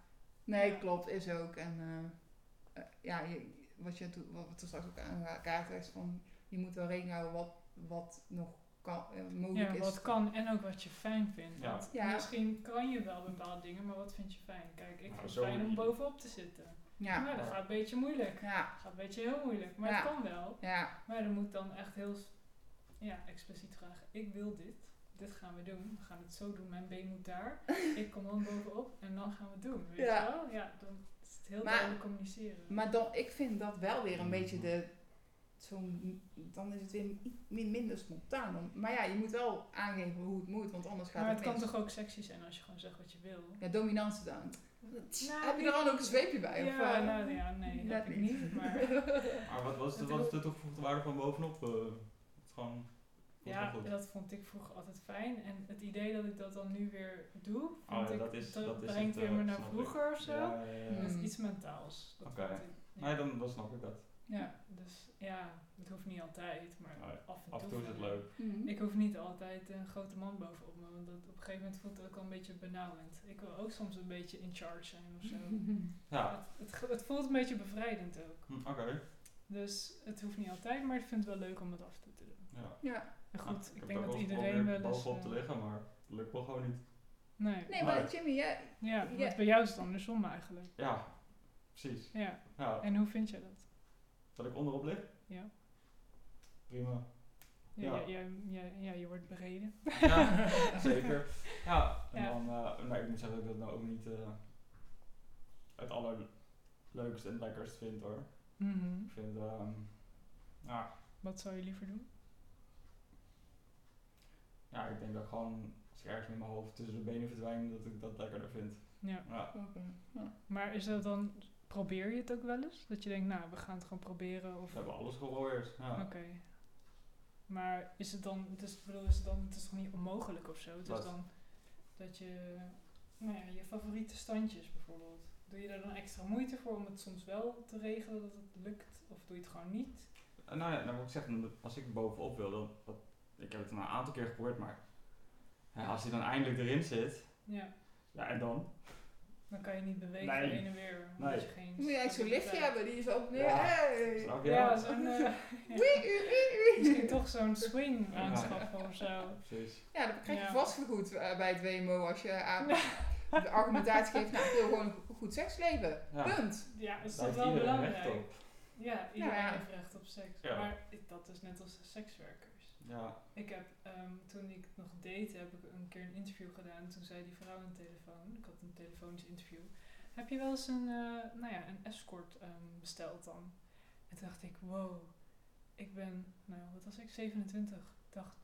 Speaker 2: nee,
Speaker 3: Ja.
Speaker 2: klopt, is ook. En eh, eh, ja, je, wat je toen- wat we toen straks ook aan elkaar is van je moet wel rekening houden wat, wat nog kan, eh, mogelijk
Speaker 3: Ja,
Speaker 2: is.
Speaker 3: wat kan en ook wat je fijn vindt.
Speaker 1: Ja.
Speaker 3: Want
Speaker 2: Ja.
Speaker 3: misschien kan je wel bepaalde dingen, maar wat vind je fijn? Kijk, ik
Speaker 1: Nou,
Speaker 3: vind
Speaker 1: zo
Speaker 3: het fijn om
Speaker 1: moet je-
Speaker 3: bovenop te zitten.
Speaker 2: Ja,
Speaker 3: Maar dat gaat een beetje moeilijk.
Speaker 2: ja,
Speaker 3: Dat gaat een beetje heel moeilijk, maar het
Speaker 2: Ja.
Speaker 3: kan wel.
Speaker 2: ja,
Speaker 3: Maar dan moet dan echt heel s- ja, expliciet vragen, ik wil dit. Dit gaan we doen. We gaan het zo doen. Mijn been moet
Speaker 2: (laughs)
Speaker 3: daar. Ik kom dan bovenop en dan gaan we het doen. Weet
Speaker 2: Ja.
Speaker 3: je wel? Ja, dan is het heel
Speaker 2: Maar-
Speaker 3: duidelijk communiceren.
Speaker 2: Maar dan, ik vind dat wel weer een beetje de, zo'n, dan is het weer i- mi- minder spontaan. Dan- Maar ja, je moet wel aangeven hoe het moet, want anders gaat
Speaker 3: Maar het kan
Speaker 2: mis.
Speaker 3: toch ook sexy zijn als je gewoon zegt wat je wil?
Speaker 2: Ja, dominantie dan.
Speaker 3: Nou,
Speaker 2: Heb je
Speaker 3: ik-
Speaker 2: er dan ook een zweepje bij? of,
Speaker 3: Ja,
Speaker 2: eh?
Speaker 3: nou ja, nee,
Speaker 2: net
Speaker 3: dat heb ik niet. Maar
Speaker 2: (laughs)
Speaker 1: Maar wat, wat, is de, wat is de toegevoegde waarde van bovenop? eh, het is gewoon... voelt
Speaker 3: Ja,
Speaker 1: gewoon goed.
Speaker 3: dat vond ik vroeger altijd fijn. En het idee dat ik dat dan nu weer doe,
Speaker 1: Oh
Speaker 3: vond
Speaker 1: ja,
Speaker 3: ik,
Speaker 1: dat is- dat is
Speaker 3: brengt
Speaker 1: het,
Speaker 3: weer
Speaker 1: eh,
Speaker 3: me naar
Speaker 1: snap ik.
Speaker 3: vroeger of zo.
Speaker 1: Ja, ja, ja, ja.
Speaker 3: Dat is
Speaker 2: Mm.
Speaker 3: iets mentaals. Dat
Speaker 1: Oké.
Speaker 3: vond ik, ja.
Speaker 1: Nee, dan, dan snap ik dat.
Speaker 3: ja, dus ja, het hoeft niet altijd, maar
Speaker 1: Nee,
Speaker 3: af en
Speaker 1: Oh
Speaker 3: toe.
Speaker 1: Af en toe is het
Speaker 3: wel.
Speaker 1: leuk.
Speaker 2: Mhm.
Speaker 3: Ik hoef niet altijd een grote man bovenop me, want dat, op een gegeven moment voelt het ook al een beetje benauwend. Ik wil ook soms een beetje in charge zijn
Speaker 2: (laughs)
Speaker 3: of zo.
Speaker 1: Ja,
Speaker 3: het, het, ge- het voelt een beetje bevrijdend ook.
Speaker 1: Hm, oké.
Speaker 3: Dus het hoeft niet altijd, maar ik vind het wel leuk om het af en toe te doen.
Speaker 1: Ja.
Speaker 2: Ja.
Speaker 3: En
Speaker 1: Nou,
Speaker 3: goed,
Speaker 1: heb
Speaker 3: ik
Speaker 1: het
Speaker 3: denk
Speaker 1: ook
Speaker 3: dat
Speaker 1: eens
Speaker 3: iedereen
Speaker 1: geprobeerd
Speaker 3: wel eens...
Speaker 1: bovenop te
Speaker 3: eh,
Speaker 1: liggen, maar het lukt wel gewoon niet.
Speaker 3: Nee.
Speaker 2: Nee, maar Jimmy, jij,
Speaker 3: Ja,
Speaker 2: Ja.
Speaker 3: want bij jou is het dan de som eigenlijk.
Speaker 1: Ja, precies.
Speaker 3: Ja,
Speaker 1: Ja,
Speaker 3: en hoe vind jij dat?
Speaker 1: dat ik onderop lig?
Speaker 3: Ja.
Speaker 1: Prima.
Speaker 3: Ja,
Speaker 1: Ja.
Speaker 3: ja. ja, ja, ja, je wordt bereden. (laughs)
Speaker 1: Ja, zeker. Ja, en
Speaker 3: Ja.
Speaker 1: dan, eh, nou, ik moet zeggen dat ik dat nou ook niet eh, het allerleukst en lekkerst vind hoor.
Speaker 3: Mhm.
Speaker 1: Ik vind, ehm, ja,
Speaker 3: Wat zou je liever doen?
Speaker 1: ja, ik denk dat ik gewoon als ik ergens met mijn hoofd tussen de benen verdwijn, dat ik dat lekkerder vind.
Speaker 3: Ja.
Speaker 1: Ja,
Speaker 3: Maar is dat dan, probeer je het ook wel eens? Dat je denkt, nou, we gaan het gewoon proberen.
Speaker 1: we
Speaker 3: Of... Oké.
Speaker 1: hebben alles geprobeerd. Ja.
Speaker 3: Maar is het dan, het is, ik bedoel, is het dan, het is toch niet onmogelijk of zo? Het
Speaker 1: Wat?
Speaker 3: is dan dat je, nou ja, je favoriete standjes bijvoorbeeld. Doe je daar dan extra moeite voor om het soms wel te regelen dat het lukt? Of doe je het gewoon niet?
Speaker 1: Eh, nou ja, nou, wat ik zeg, als ik bovenop wil, dan, dat, ik heb het een aantal keer geprobeerd, maar ja, als hij dan eindelijk erin zit,
Speaker 3: Ja,
Speaker 1: ja en dan?
Speaker 3: dan kan je niet bewegen
Speaker 1: Nee.
Speaker 3: heen en weer. omdat
Speaker 1: Nee.
Speaker 3: je geen
Speaker 2: moet je eigenlijk zo'n lichtje
Speaker 3: stabiliteit-
Speaker 2: hebben, die is ook weer,
Speaker 1: Ja.
Speaker 2: hey.
Speaker 1: Snap je?
Speaker 3: Ja, zo'n. eh,
Speaker 2: (laughs) Wee,
Speaker 3: ja.
Speaker 2: wee, wee, wee.
Speaker 3: Misschien toch zo'n swing aanschaffen of zo.
Speaker 1: Precies.
Speaker 2: Ja, dan krijg je
Speaker 3: Ja.
Speaker 2: vastgoed eh, bij het WMO als je aan de argumentatie geeft, nou, ik wil gewoon een goed seksleven.
Speaker 1: Ja.
Speaker 2: Punt.
Speaker 3: Ja, is
Speaker 1: Daar
Speaker 3: dat
Speaker 1: heeft
Speaker 3: wel
Speaker 1: iedereen recht
Speaker 3: belangrijk? Ja, iedereen
Speaker 2: Ja.
Speaker 3: heeft recht op seks.
Speaker 1: Ja.
Speaker 3: Maar i- dat is net als sekswerkers.
Speaker 1: Ja,
Speaker 3: Ik heb, ehm, toen ik nog date, heb ik een keer een interview gedaan. Toen zei die vrouw aan de telefoon, ik had een telefonisch interview. Heb je wel eens een, eh, nou ja, een escort ehm, besteld dan? En toen dacht ik, wow, ik ben, nou wat was ik, 27. Ik dacht,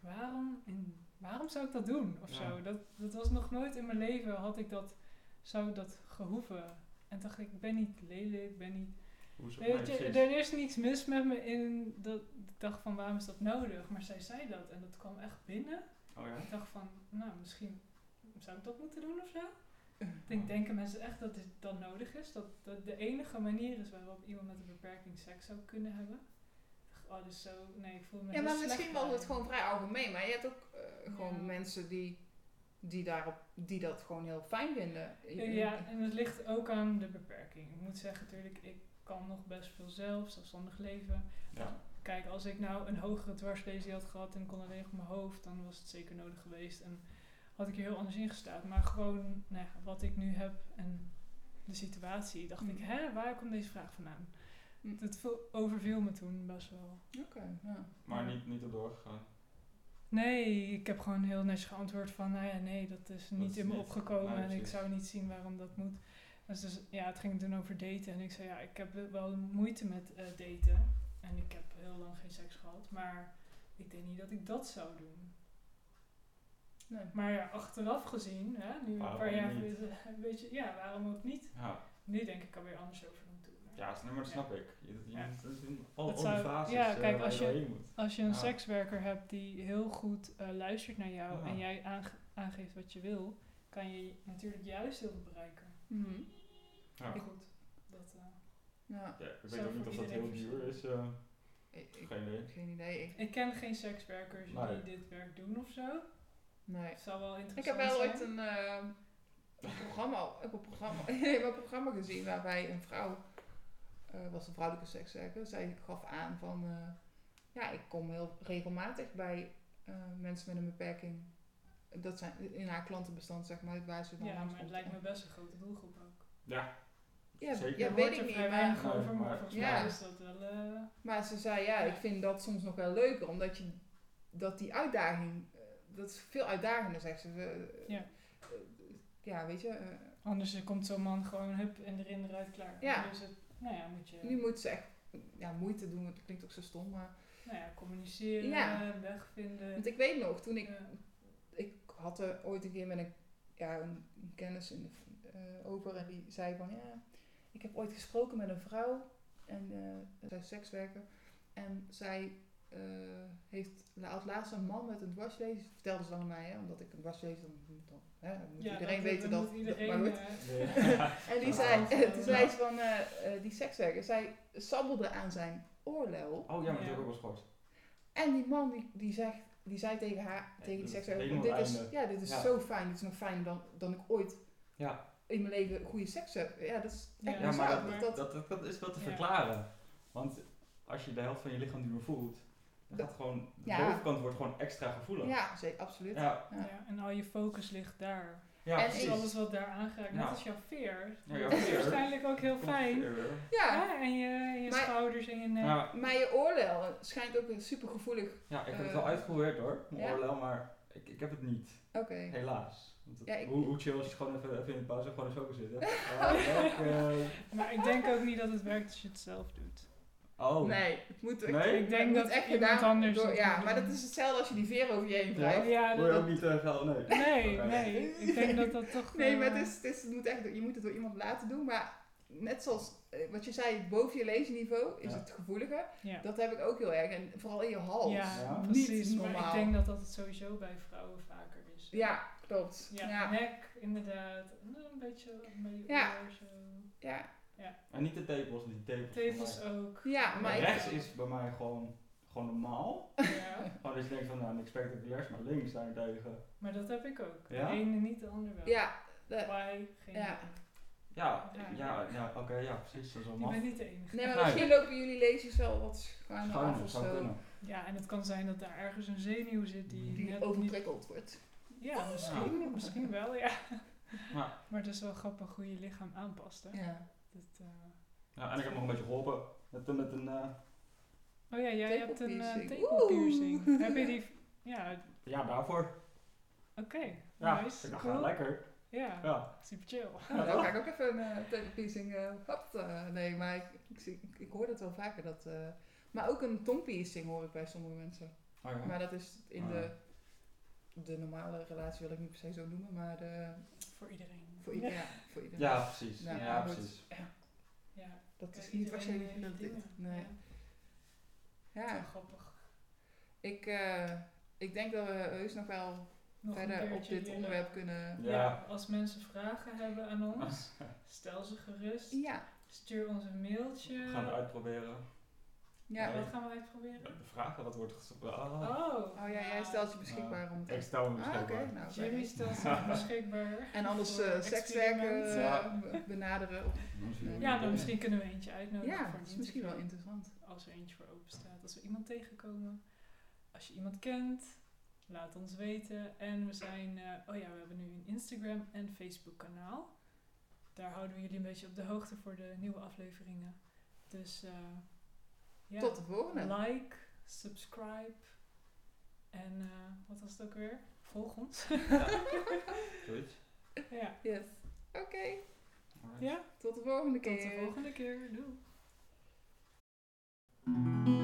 Speaker 3: waarom, in, waarom zou ik dat doen? Of
Speaker 1: Ja.
Speaker 3: zo. Dat, dat was nog nooit in mijn leven had ik dat, zou ik dat gehoeven. En toen dacht ik, ik ben niet lelijk, ik ben niet
Speaker 1: Hoezo?
Speaker 3: Nee,
Speaker 1: Nee,
Speaker 3: weet je,
Speaker 1: precies.
Speaker 3: er is niets mis met me in dat ik dacht van waarom is dat nodig? Maar zij zei dat en dat kwam echt binnen.
Speaker 1: Oh ja?
Speaker 3: Ik dacht van, nou misschien zou ik dat moeten doen of zo. Ik denken mensen echt dat dit dan nodig is. Dat dat de enige manier is waarop iemand met een beperking seks zou kunnen hebben. Ik dacht, Oh, dus zo, nee, ik voel me
Speaker 2: Ja,
Speaker 3: heel
Speaker 2: maar
Speaker 3: slecht
Speaker 2: misschien was het
Speaker 3: bij.
Speaker 2: gewoon vrij algemeen. Maar je hebt ook eh, gewoon
Speaker 3: Ja.
Speaker 2: mensen die, die, daarop, die dat gewoon heel fijn vinden.
Speaker 3: Eh, Ja, en het ligt ook aan de beperking. Ik moet zeggen, natuurlijk, ik kan nog best veel zelf, zelfstandig leven.
Speaker 1: Ja.
Speaker 3: Kijk, als ik nou een hogere dwarslesie had gehad en kon alleen op mijn hoofd, dan was het zeker nodig geweest. En had ik er heel anders in gestaan. Maar gewoon nou ja, wat ik nu heb en de situatie, dacht ik,
Speaker 2: Mm.
Speaker 3: hè, waar komt deze vraag vandaan?
Speaker 2: Mm.
Speaker 3: Dat vo- overviel me toen best wel.
Speaker 2: Oké, ja.
Speaker 1: Maar niet, niet erdoor gegaan.
Speaker 3: Nee, ik heb gewoon heel netjes geantwoord van, nou ja, nee, dat is niet
Speaker 1: is
Speaker 3: in me
Speaker 1: niet-
Speaker 3: opgekomen
Speaker 1: nee,
Speaker 3: en ik
Speaker 1: precies.
Speaker 3: zou niet zien waarom dat moet. Dus, dus ja, het ging toen over daten en ik zei, ja, ik heb wel moeite met eh, daten en ik heb heel lang geen seks gehad, maar ik denk niet dat ik dat zou doen.
Speaker 2: Nee.
Speaker 3: Maar ja, achteraf gezien, hè, nu een paar
Speaker 1: Waarom
Speaker 3: jaar
Speaker 1: niet?
Speaker 3: geleden, eh, een beetje, ja, waarom ook niet?
Speaker 1: Ja,
Speaker 3: Nu denk ik alweer anders over dan toen. Maar
Speaker 1: ja snap- maar dat
Speaker 3: Ja.
Speaker 1: snap ik. Je, je
Speaker 3: Ja.
Speaker 1: moet- dat is in al,
Speaker 3: Dat
Speaker 1: al die
Speaker 3: zou-
Speaker 1: fases
Speaker 3: ja,
Speaker 1: eh,
Speaker 3: kijk,
Speaker 1: waar
Speaker 3: als je-
Speaker 1: doorheen moet.
Speaker 3: Als je een
Speaker 1: Ja.
Speaker 3: sekswerker hebt die heel goed eh, luistert naar jou
Speaker 1: Ja.
Speaker 3: en jij aange- aangeeft wat je wil, kan je natuurlijk juist heel veel bereiken.
Speaker 2: Mhm.
Speaker 1: Ja.
Speaker 3: Maar goed, dat, eh,
Speaker 2: ja.
Speaker 1: Ja, ik
Speaker 3: Zou
Speaker 1: weet ook niet
Speaker 3: voor
Speaker 1: of dat
Speaker 3: iedereen
Speaker 1: heel duur is. eh,
Speaker 2: Ik, ik-
Speaker 1: geen idee.
Speaker 2: geen idee. Ik,
Speaker 3: ik ken geen sekswerkers
Speaker 1: Nee.
Speaker 3: die dit werk doen of zo.
Speaker 2: nee.
Speaker 3: Het zou wel
Speaker 2: Ik
Speaker 3: interessant
Speaker 2: heb wel
Speaker 3: zijn.
Speaker 2: ooit een, eh, een programma, ik heb een programma, (laughs) ik heb een programma gezien waarbij een vrouw, eh, was een vrouwelijke sekswerker, zij gaf aan van, eh, ja, ik kom heel regelmatig bij eh, mensen met een beperking. Dat zijn in haar klantenbestand, zeg maar, waar ze dan
Speaker 3: Ja,
Speaker 2: langs
Speaker 3: maar het
Speaker 2: komt.
Speaker 3: lijkt me best een grote doelgroep ook.
Speaker 1: Ja,
Speaker 2: Ja,
Speaker 1: zeker.
Speaker 2: ja
Speaker 3: Er
Speaker 2: weet
Speaker 3: wordt
Speaker 2: ik
Speaker 3: er
Speaker 2: niet,
Speaker 3: vrij
Speaker 2: maar,
Speaker 3: weinig
Speaker 1: Nee,
Speaker 3: over, maar
Speaker 1: maar-
Speaker 3: volgens
Speaker 2: Ja.
Speaker 3: mij is dat wel... eh,
Speaker 2: maar ze zei, ja, ik vind dat soms nog wel leuker, omdat je, dat die uitdaging, eh, dat is veel uitdagender, zegt ze. Eh,
Speaker 3: Ja.
Speaker 2: eh, ja, weet je, eh,
Speaker 3: anders komt zo'n man gewoon hup en erin eruit klaar.
Speaker 2: Ja.
Speaker 3: En Dus het, nou ja, moet je
Speaker 2: Nu moet ze echt ja, moeite doen, want dat klinkt ook zo stom. Maar,
Speaker 3: nou ja, communiceren,
Speaker 2: Ja.
Speaker 3: wegvinden.
Speaker 2: want ik weet nog, toen ik,
Speaker 3: Ja.
Speaker 2: ik had er ooit een keer met een, ja, een een kennis in de, eh, over en die zei van ja, ik heb ooit gesproken met een vrouw en eh, zij is sekswerker en zij eh, heeft la- had laatst een man met een dwarslezen, vertelde ze dan aan mij, hè, omdat ik een dwarslezen dan, dan, hè, dan moet
Speaker 3: Ja,
Speaker 2: iedereen
Speaker 3: dat-
Speaker 2: weten
Speaker 3: dan
Speaker 2: dat,
Speaker 3: moet iedereen,
Speaker 2: maar goed.
Speaker 3: eh, (laughs)
Speaker 2: En die
Speaker 1: Ja.
Speaker 2: zei, (laughs)
Speaker 3: Ja.
Speaker 2: toen zei ze van eh, eh, die sekswerker, zij sabbelde aan zijn oorlel.
Speaker 1: (laughs) Oh ja, maar dat heb
Speaker 3: Ja.
Speaker 1: ik ook wel eens gehoord.
Speaker 2: En die man die, die, zegt, die zei tegen haar,
Speaker 1: Ja,
Speaker 2: tegen die
Speaker 1: dat is
Speaker 2: sekswerker,
Speaker 1: helemaal
Speaker 2: dit is,
Speaker 1: einde.
Speaker 2: ja, dit is
Speaker 1: Ja.
Speaker 2: zo fijn, dit is nog fijner dan, dan ik ooit
Speaker 1: Ja.
Speaker 2: in mijn leven goede seks heb. Ja, dat is echt
Speaker 3: Ja,
Speaker 1: Ja,
Speaker 2: bizar.
Speaker 1: maar
Speaker 3: maar-
Speaker 2: dat, dat,
Speaker 1: dat, dat, dat is wel te
Speaker 3: Ja.
Speaker 1: verklaren. Want als je de helft van je lichaam niet meer voelt, dan
Speaker 2: Dat-
Speaker 1: gaat gewoon, de
Speaker 2: ja.
Speaker 1: bovenkant wordt gewoon extra gevoelig.
Speaker 2: ja, zeker, absoluut. Ja.
Speaker 1: ja,
Speaker 3: Ja, en al je focus ligt daar.
Speaker 1: ja,
Speaker 2: En
Speaker 3: Dus
Speaker 1: precies.
Speaker 3: alles wat daar aangeraakt, net
Speaker 1: Ja.
Speaker 3: als jouw veer.
Speaker 1: Nou. Ja, jouw
Speaker 3: dat is
Speaker 1: veer.
Speaker 3: waarschijnlijk ook heel
Speaker 1: Komt
Speaker 3: fijn.
Speaker 1: weer, hoor.
Speaker 3: Ja, en je, je
Speaker 2: Maar-
Speaker 3: schouders en je nek.
Speaker 1: Ja,
Speaker 2: Maar je oorlel schijnt ook een supergevoelig...
Speaker 1: ja, ik heb het
Speaker 2: Eh,
Speaker 1: wel uitgeprobeerd hoor, mijn
Speaker 2: ja?
Speaker 1: oorlel, maar ik, ik heb het niet.
Speaker 2: Oké.
Speaker 1: Helaas. Want het-
Speaker 2: Ja, ik-
Speaker 1: hoe, hoe chill als je gewoon even, even in de pauze gewoon in zo kan
Speaker 2: (laughs)
Speaker 1: zitten. Ja, ik, Ah, eh,
Speaker 3: Maar ik denk ook niet dat het werkt als je het zelf doet.
Speaker 1: oh,
Speaker 2: Nee, het moet,
Speaker 1: Nee?
Speaker 2: het
Speaker 3: Ik denk
Speaker 2: moet
Speaker 3: dat
Speaker 2: echt
Speaker 3: iemand
Speaker 2: gedaan
Speaker 3: anders
Speaker 2: door-
Speaker 3: het
Speaker 2: Ja,
Speaker 3: moet
Speaker 2: maar
Speaker 3: doen.
Speaker 2: dat is hetzelfde als je die veer over je heen
Speaker 1: Ja.
Speaker 2: wrijft.
Speaker 3: Oh, Ja,
Speaker 1: Word je
Speaker 3: dat-
Speaker 1: ook niet eh, geil, (laughs) nee.
Speaker 3: nee,
Speaker 1: Oké.
Speaker 3: nee. Ik denk dat dat toch...
Speaker 2: Nee,
Speaker 3: eh,
Speaker 2: maar het is, het is, het moet echt, door- je moet het door iemand laten doen, maar... Net zoals eh, wat je zei, boven je leesniveau is
Speaker 1: Ja.
Speaker 2: het gevoeliger.
Speaker 3: Ja,
Speaker 2: Dat heb ik ook heel erg. En vooral in je hals.
Speaker 3: ja,
Speaker 1: Ja.
Speaker 3: precies.
Speaker 2: Niet
Speaker 3: maar ik
Speaker 2: normaal.
Speaker 3: denk dat dat het sowieso bij vrouwen vaker is.
Speaker 2: Ja, klopt.
Speaker 3: Ja,
Speaker 2: Ja. Ja.
Speaker 3: nek inderdaad. Een beetje met je
Speaker 2: Ja.
Speaker 3: oor zo.
Speaker 2: Ja.
Speaker 1: En niet de tepels, niet de tepels.
Speaker 3: Tevels
Speaker 1: Maar-
Speaker 2: (laughs)
Speaker 3: ook.
Speaker 2: Ja,
Speaker 1: maar
Speaker 2: maar ik-
Speaker 1: rechts is bij mij gewoon, gewoon normaal.
Speaker 3: Ja,
Speaker 1: Gewoon dat je denkt van, nou, niks spectaculairs, maar links daarentegen.
Speaker 3: maar dat heb ik ook.
Speaker 1: Ja?
Speaker 3: De ene niet, de ander wel.
Speaker 2: de-
Speaker 3: Why? Geen
Speaker 2: Ja.
Speaker 3: idee.
Speaker 1: Ja,
Speaker 3: Ja.
Speaker 1: ja, Ah, ja, oké, ja, precies, dat is wel
Speaker 3: Je
Speaker 1: maf.
Speaker 3: bent niet de enige.
Speaker 2: nee, maar
Speaker 1: Nee.
Speaker 2: misschien lopen jullie lezers wel wat schuiner af
Speaker 1: Schuin,
Speaker 2: of
Speaker 1: zou
Speaker 2: zo.
Speaker 1: kunnen.
Speaker 3: Ja, en het kan zijn dat daar ergens een zenuw zit die,
Speaker 2: Die
Speaker 3: net niet...
Speaker 2: overprikkeld wordt.
Speaker 3: Ja, misschien, misschien wel, ja.
Speaker 1: (laughs) Ja.
Speaker 3: Maar het is wel grappig hoe je lichaam aanpast, hè.
Speaker 2: Ja.
Speaker 3: Dat, eh,
Speaker 1: Ja, en ik heb nog een beetje geholpen met, met een, eh,
Speaker 3: Oh ja, jij hebt een eh,
Speaker 2: Tepelpiercing.
Speaker 3: tepelpiercing.
Speaker 2: Oeh.
Speaker 3: Heb je die...
Speaker 2: (laughs)
Speaker 3: Ja,
Speaker 1: ja, daarvoor.
Speaker 3: oké.
Speaker 1: Ja,
Speaker 3: nice,
Speaker 1: ik dacht,
Speaker 3: cool.
Speaker 1: ja, lekker.
Speaker 3: Ja,
Speaker 1: Ja.
Speaker 3: super chill.
Speaker 2: Nou, dan ga ik ook even een uh, telepiecing eh, hap, eh, nee, maar ik, ik, zie- ik, ik hoor dat wel vaker. Dat, eh, Maar ook een tongpiercing hoor ik bij sommige mensen.
Speaker 1: Oh ja.
Speaker 2: Maar dat is in
Speaker 1: Ah.
Speaker 2: de, de normale relatie, wil ik niet per se zo noemen, maar de,
Speaker 3: Voor iedereen.
Speaker 2: voor, ieder- ja, voor iedereen.
Speaker 1: ja, precies.
Speaker 2: Nou,
Speaker 1: ja,
Speaker 2: maar goed.
Speaker 1: precies.
Speaker 3: Ja,
Speaker 2: Dat is
Speaker 3: Ja,
Speaker 2: niet
Speaker 3: iedereen
Speaker 2: waar je
Speaker 3: heeft
Speaker 2: dat
Speaker 3: dingen.
Speaker 2: dit. Nee.
Speaker 3: Ja, wel
Speaker 2: Ja,
Speaker 3: grappig.
Speaker 2: ik, eh, ik denk dat we heus nog wel
Speaker 3: Nog een
Speaker 2: verder op
Speaker 3: keertje
Speaker 2: dit
Speaker 3: hierna.
Speaker 2: onderwerp kunnen.
Speaker 3: Ja.
Speaker 1: Ja.
Speaker 3: als mensen vragen hebben aan ons,
Speaker 1: (laughs)
Speaker 3: stel ze gerust.
Speaker 2: Ja,
Speaker 3: Stuur ons een mailtje.
Speaker 1: We gaan het uitproberen.
Speaker 2: ja.
Speaker 3: Wat gaan we uitproberen?
Speaker 1: De vragen, wat wordt gezocht? Ah.
Speaker 3: Oh,
Speaker 2: Oh ja, jij
Speaker 3: nou,
Speaker 2: stelt je beschikbaar om te.
Speaker 1: Ik stel me
Speaker 2: Ah, oké.
Speaker 1: beschikbaar.
Speaker 2: nou,
Speaker 3: Jimmy
Speaker 2: fijn.
Speaker 3: stelt
Speaker 2: (laughs)
Speaker 3: zich beschikbaar.
Speaker 2: En anders
Speaker 3: voor
Speaker 2: eh, sekswerken
Speaker 3: experimenten.
Speaker 1: Ja.
Speaker 2: eh, be- benaderen. Of,
Speaker 1: Misschien
Speaker 3: Ja,
Speaker 1: doen
Speaker 3: dan
Speaker 1: we
Speaker 3: misschien kunnen we eentje uitnodigen.
Speaker 2: ja,
Speaker 3: voor
Speaker 2: dat
Speaker 3: een
Speaker 2: is misschien wel
Speaker 3: interview.
Speaker 2: interessant.
Speaker 3: Als er eentje voor open staat. Als we iemand tegenkomen. Als je iemand kent, laat ons weten. En we zijn, eh, oh ja, we hebben nu een Instagram en Facebook kanaal. Daar houden we jullie een beetje op de hoogte voor de nieuwe afleveringen. Dus eh, ja,
Speaker 2: Tot de volgende.
Speaker 3: like, subscribe. En eh, wat was het ook weer? Volg ons. (laughs)
Speaker 1: dit. Zoiets.
Speaker 3: ja.
Speaker 2: (laughs) Yes. Oké,
Speaker 1: Alright.
Speaker 3: ja,
Speaker 2: tot de volgende
Speaker 3: tot
Speaker 2: keer.
Speaker 3: de volgende keer. Doei.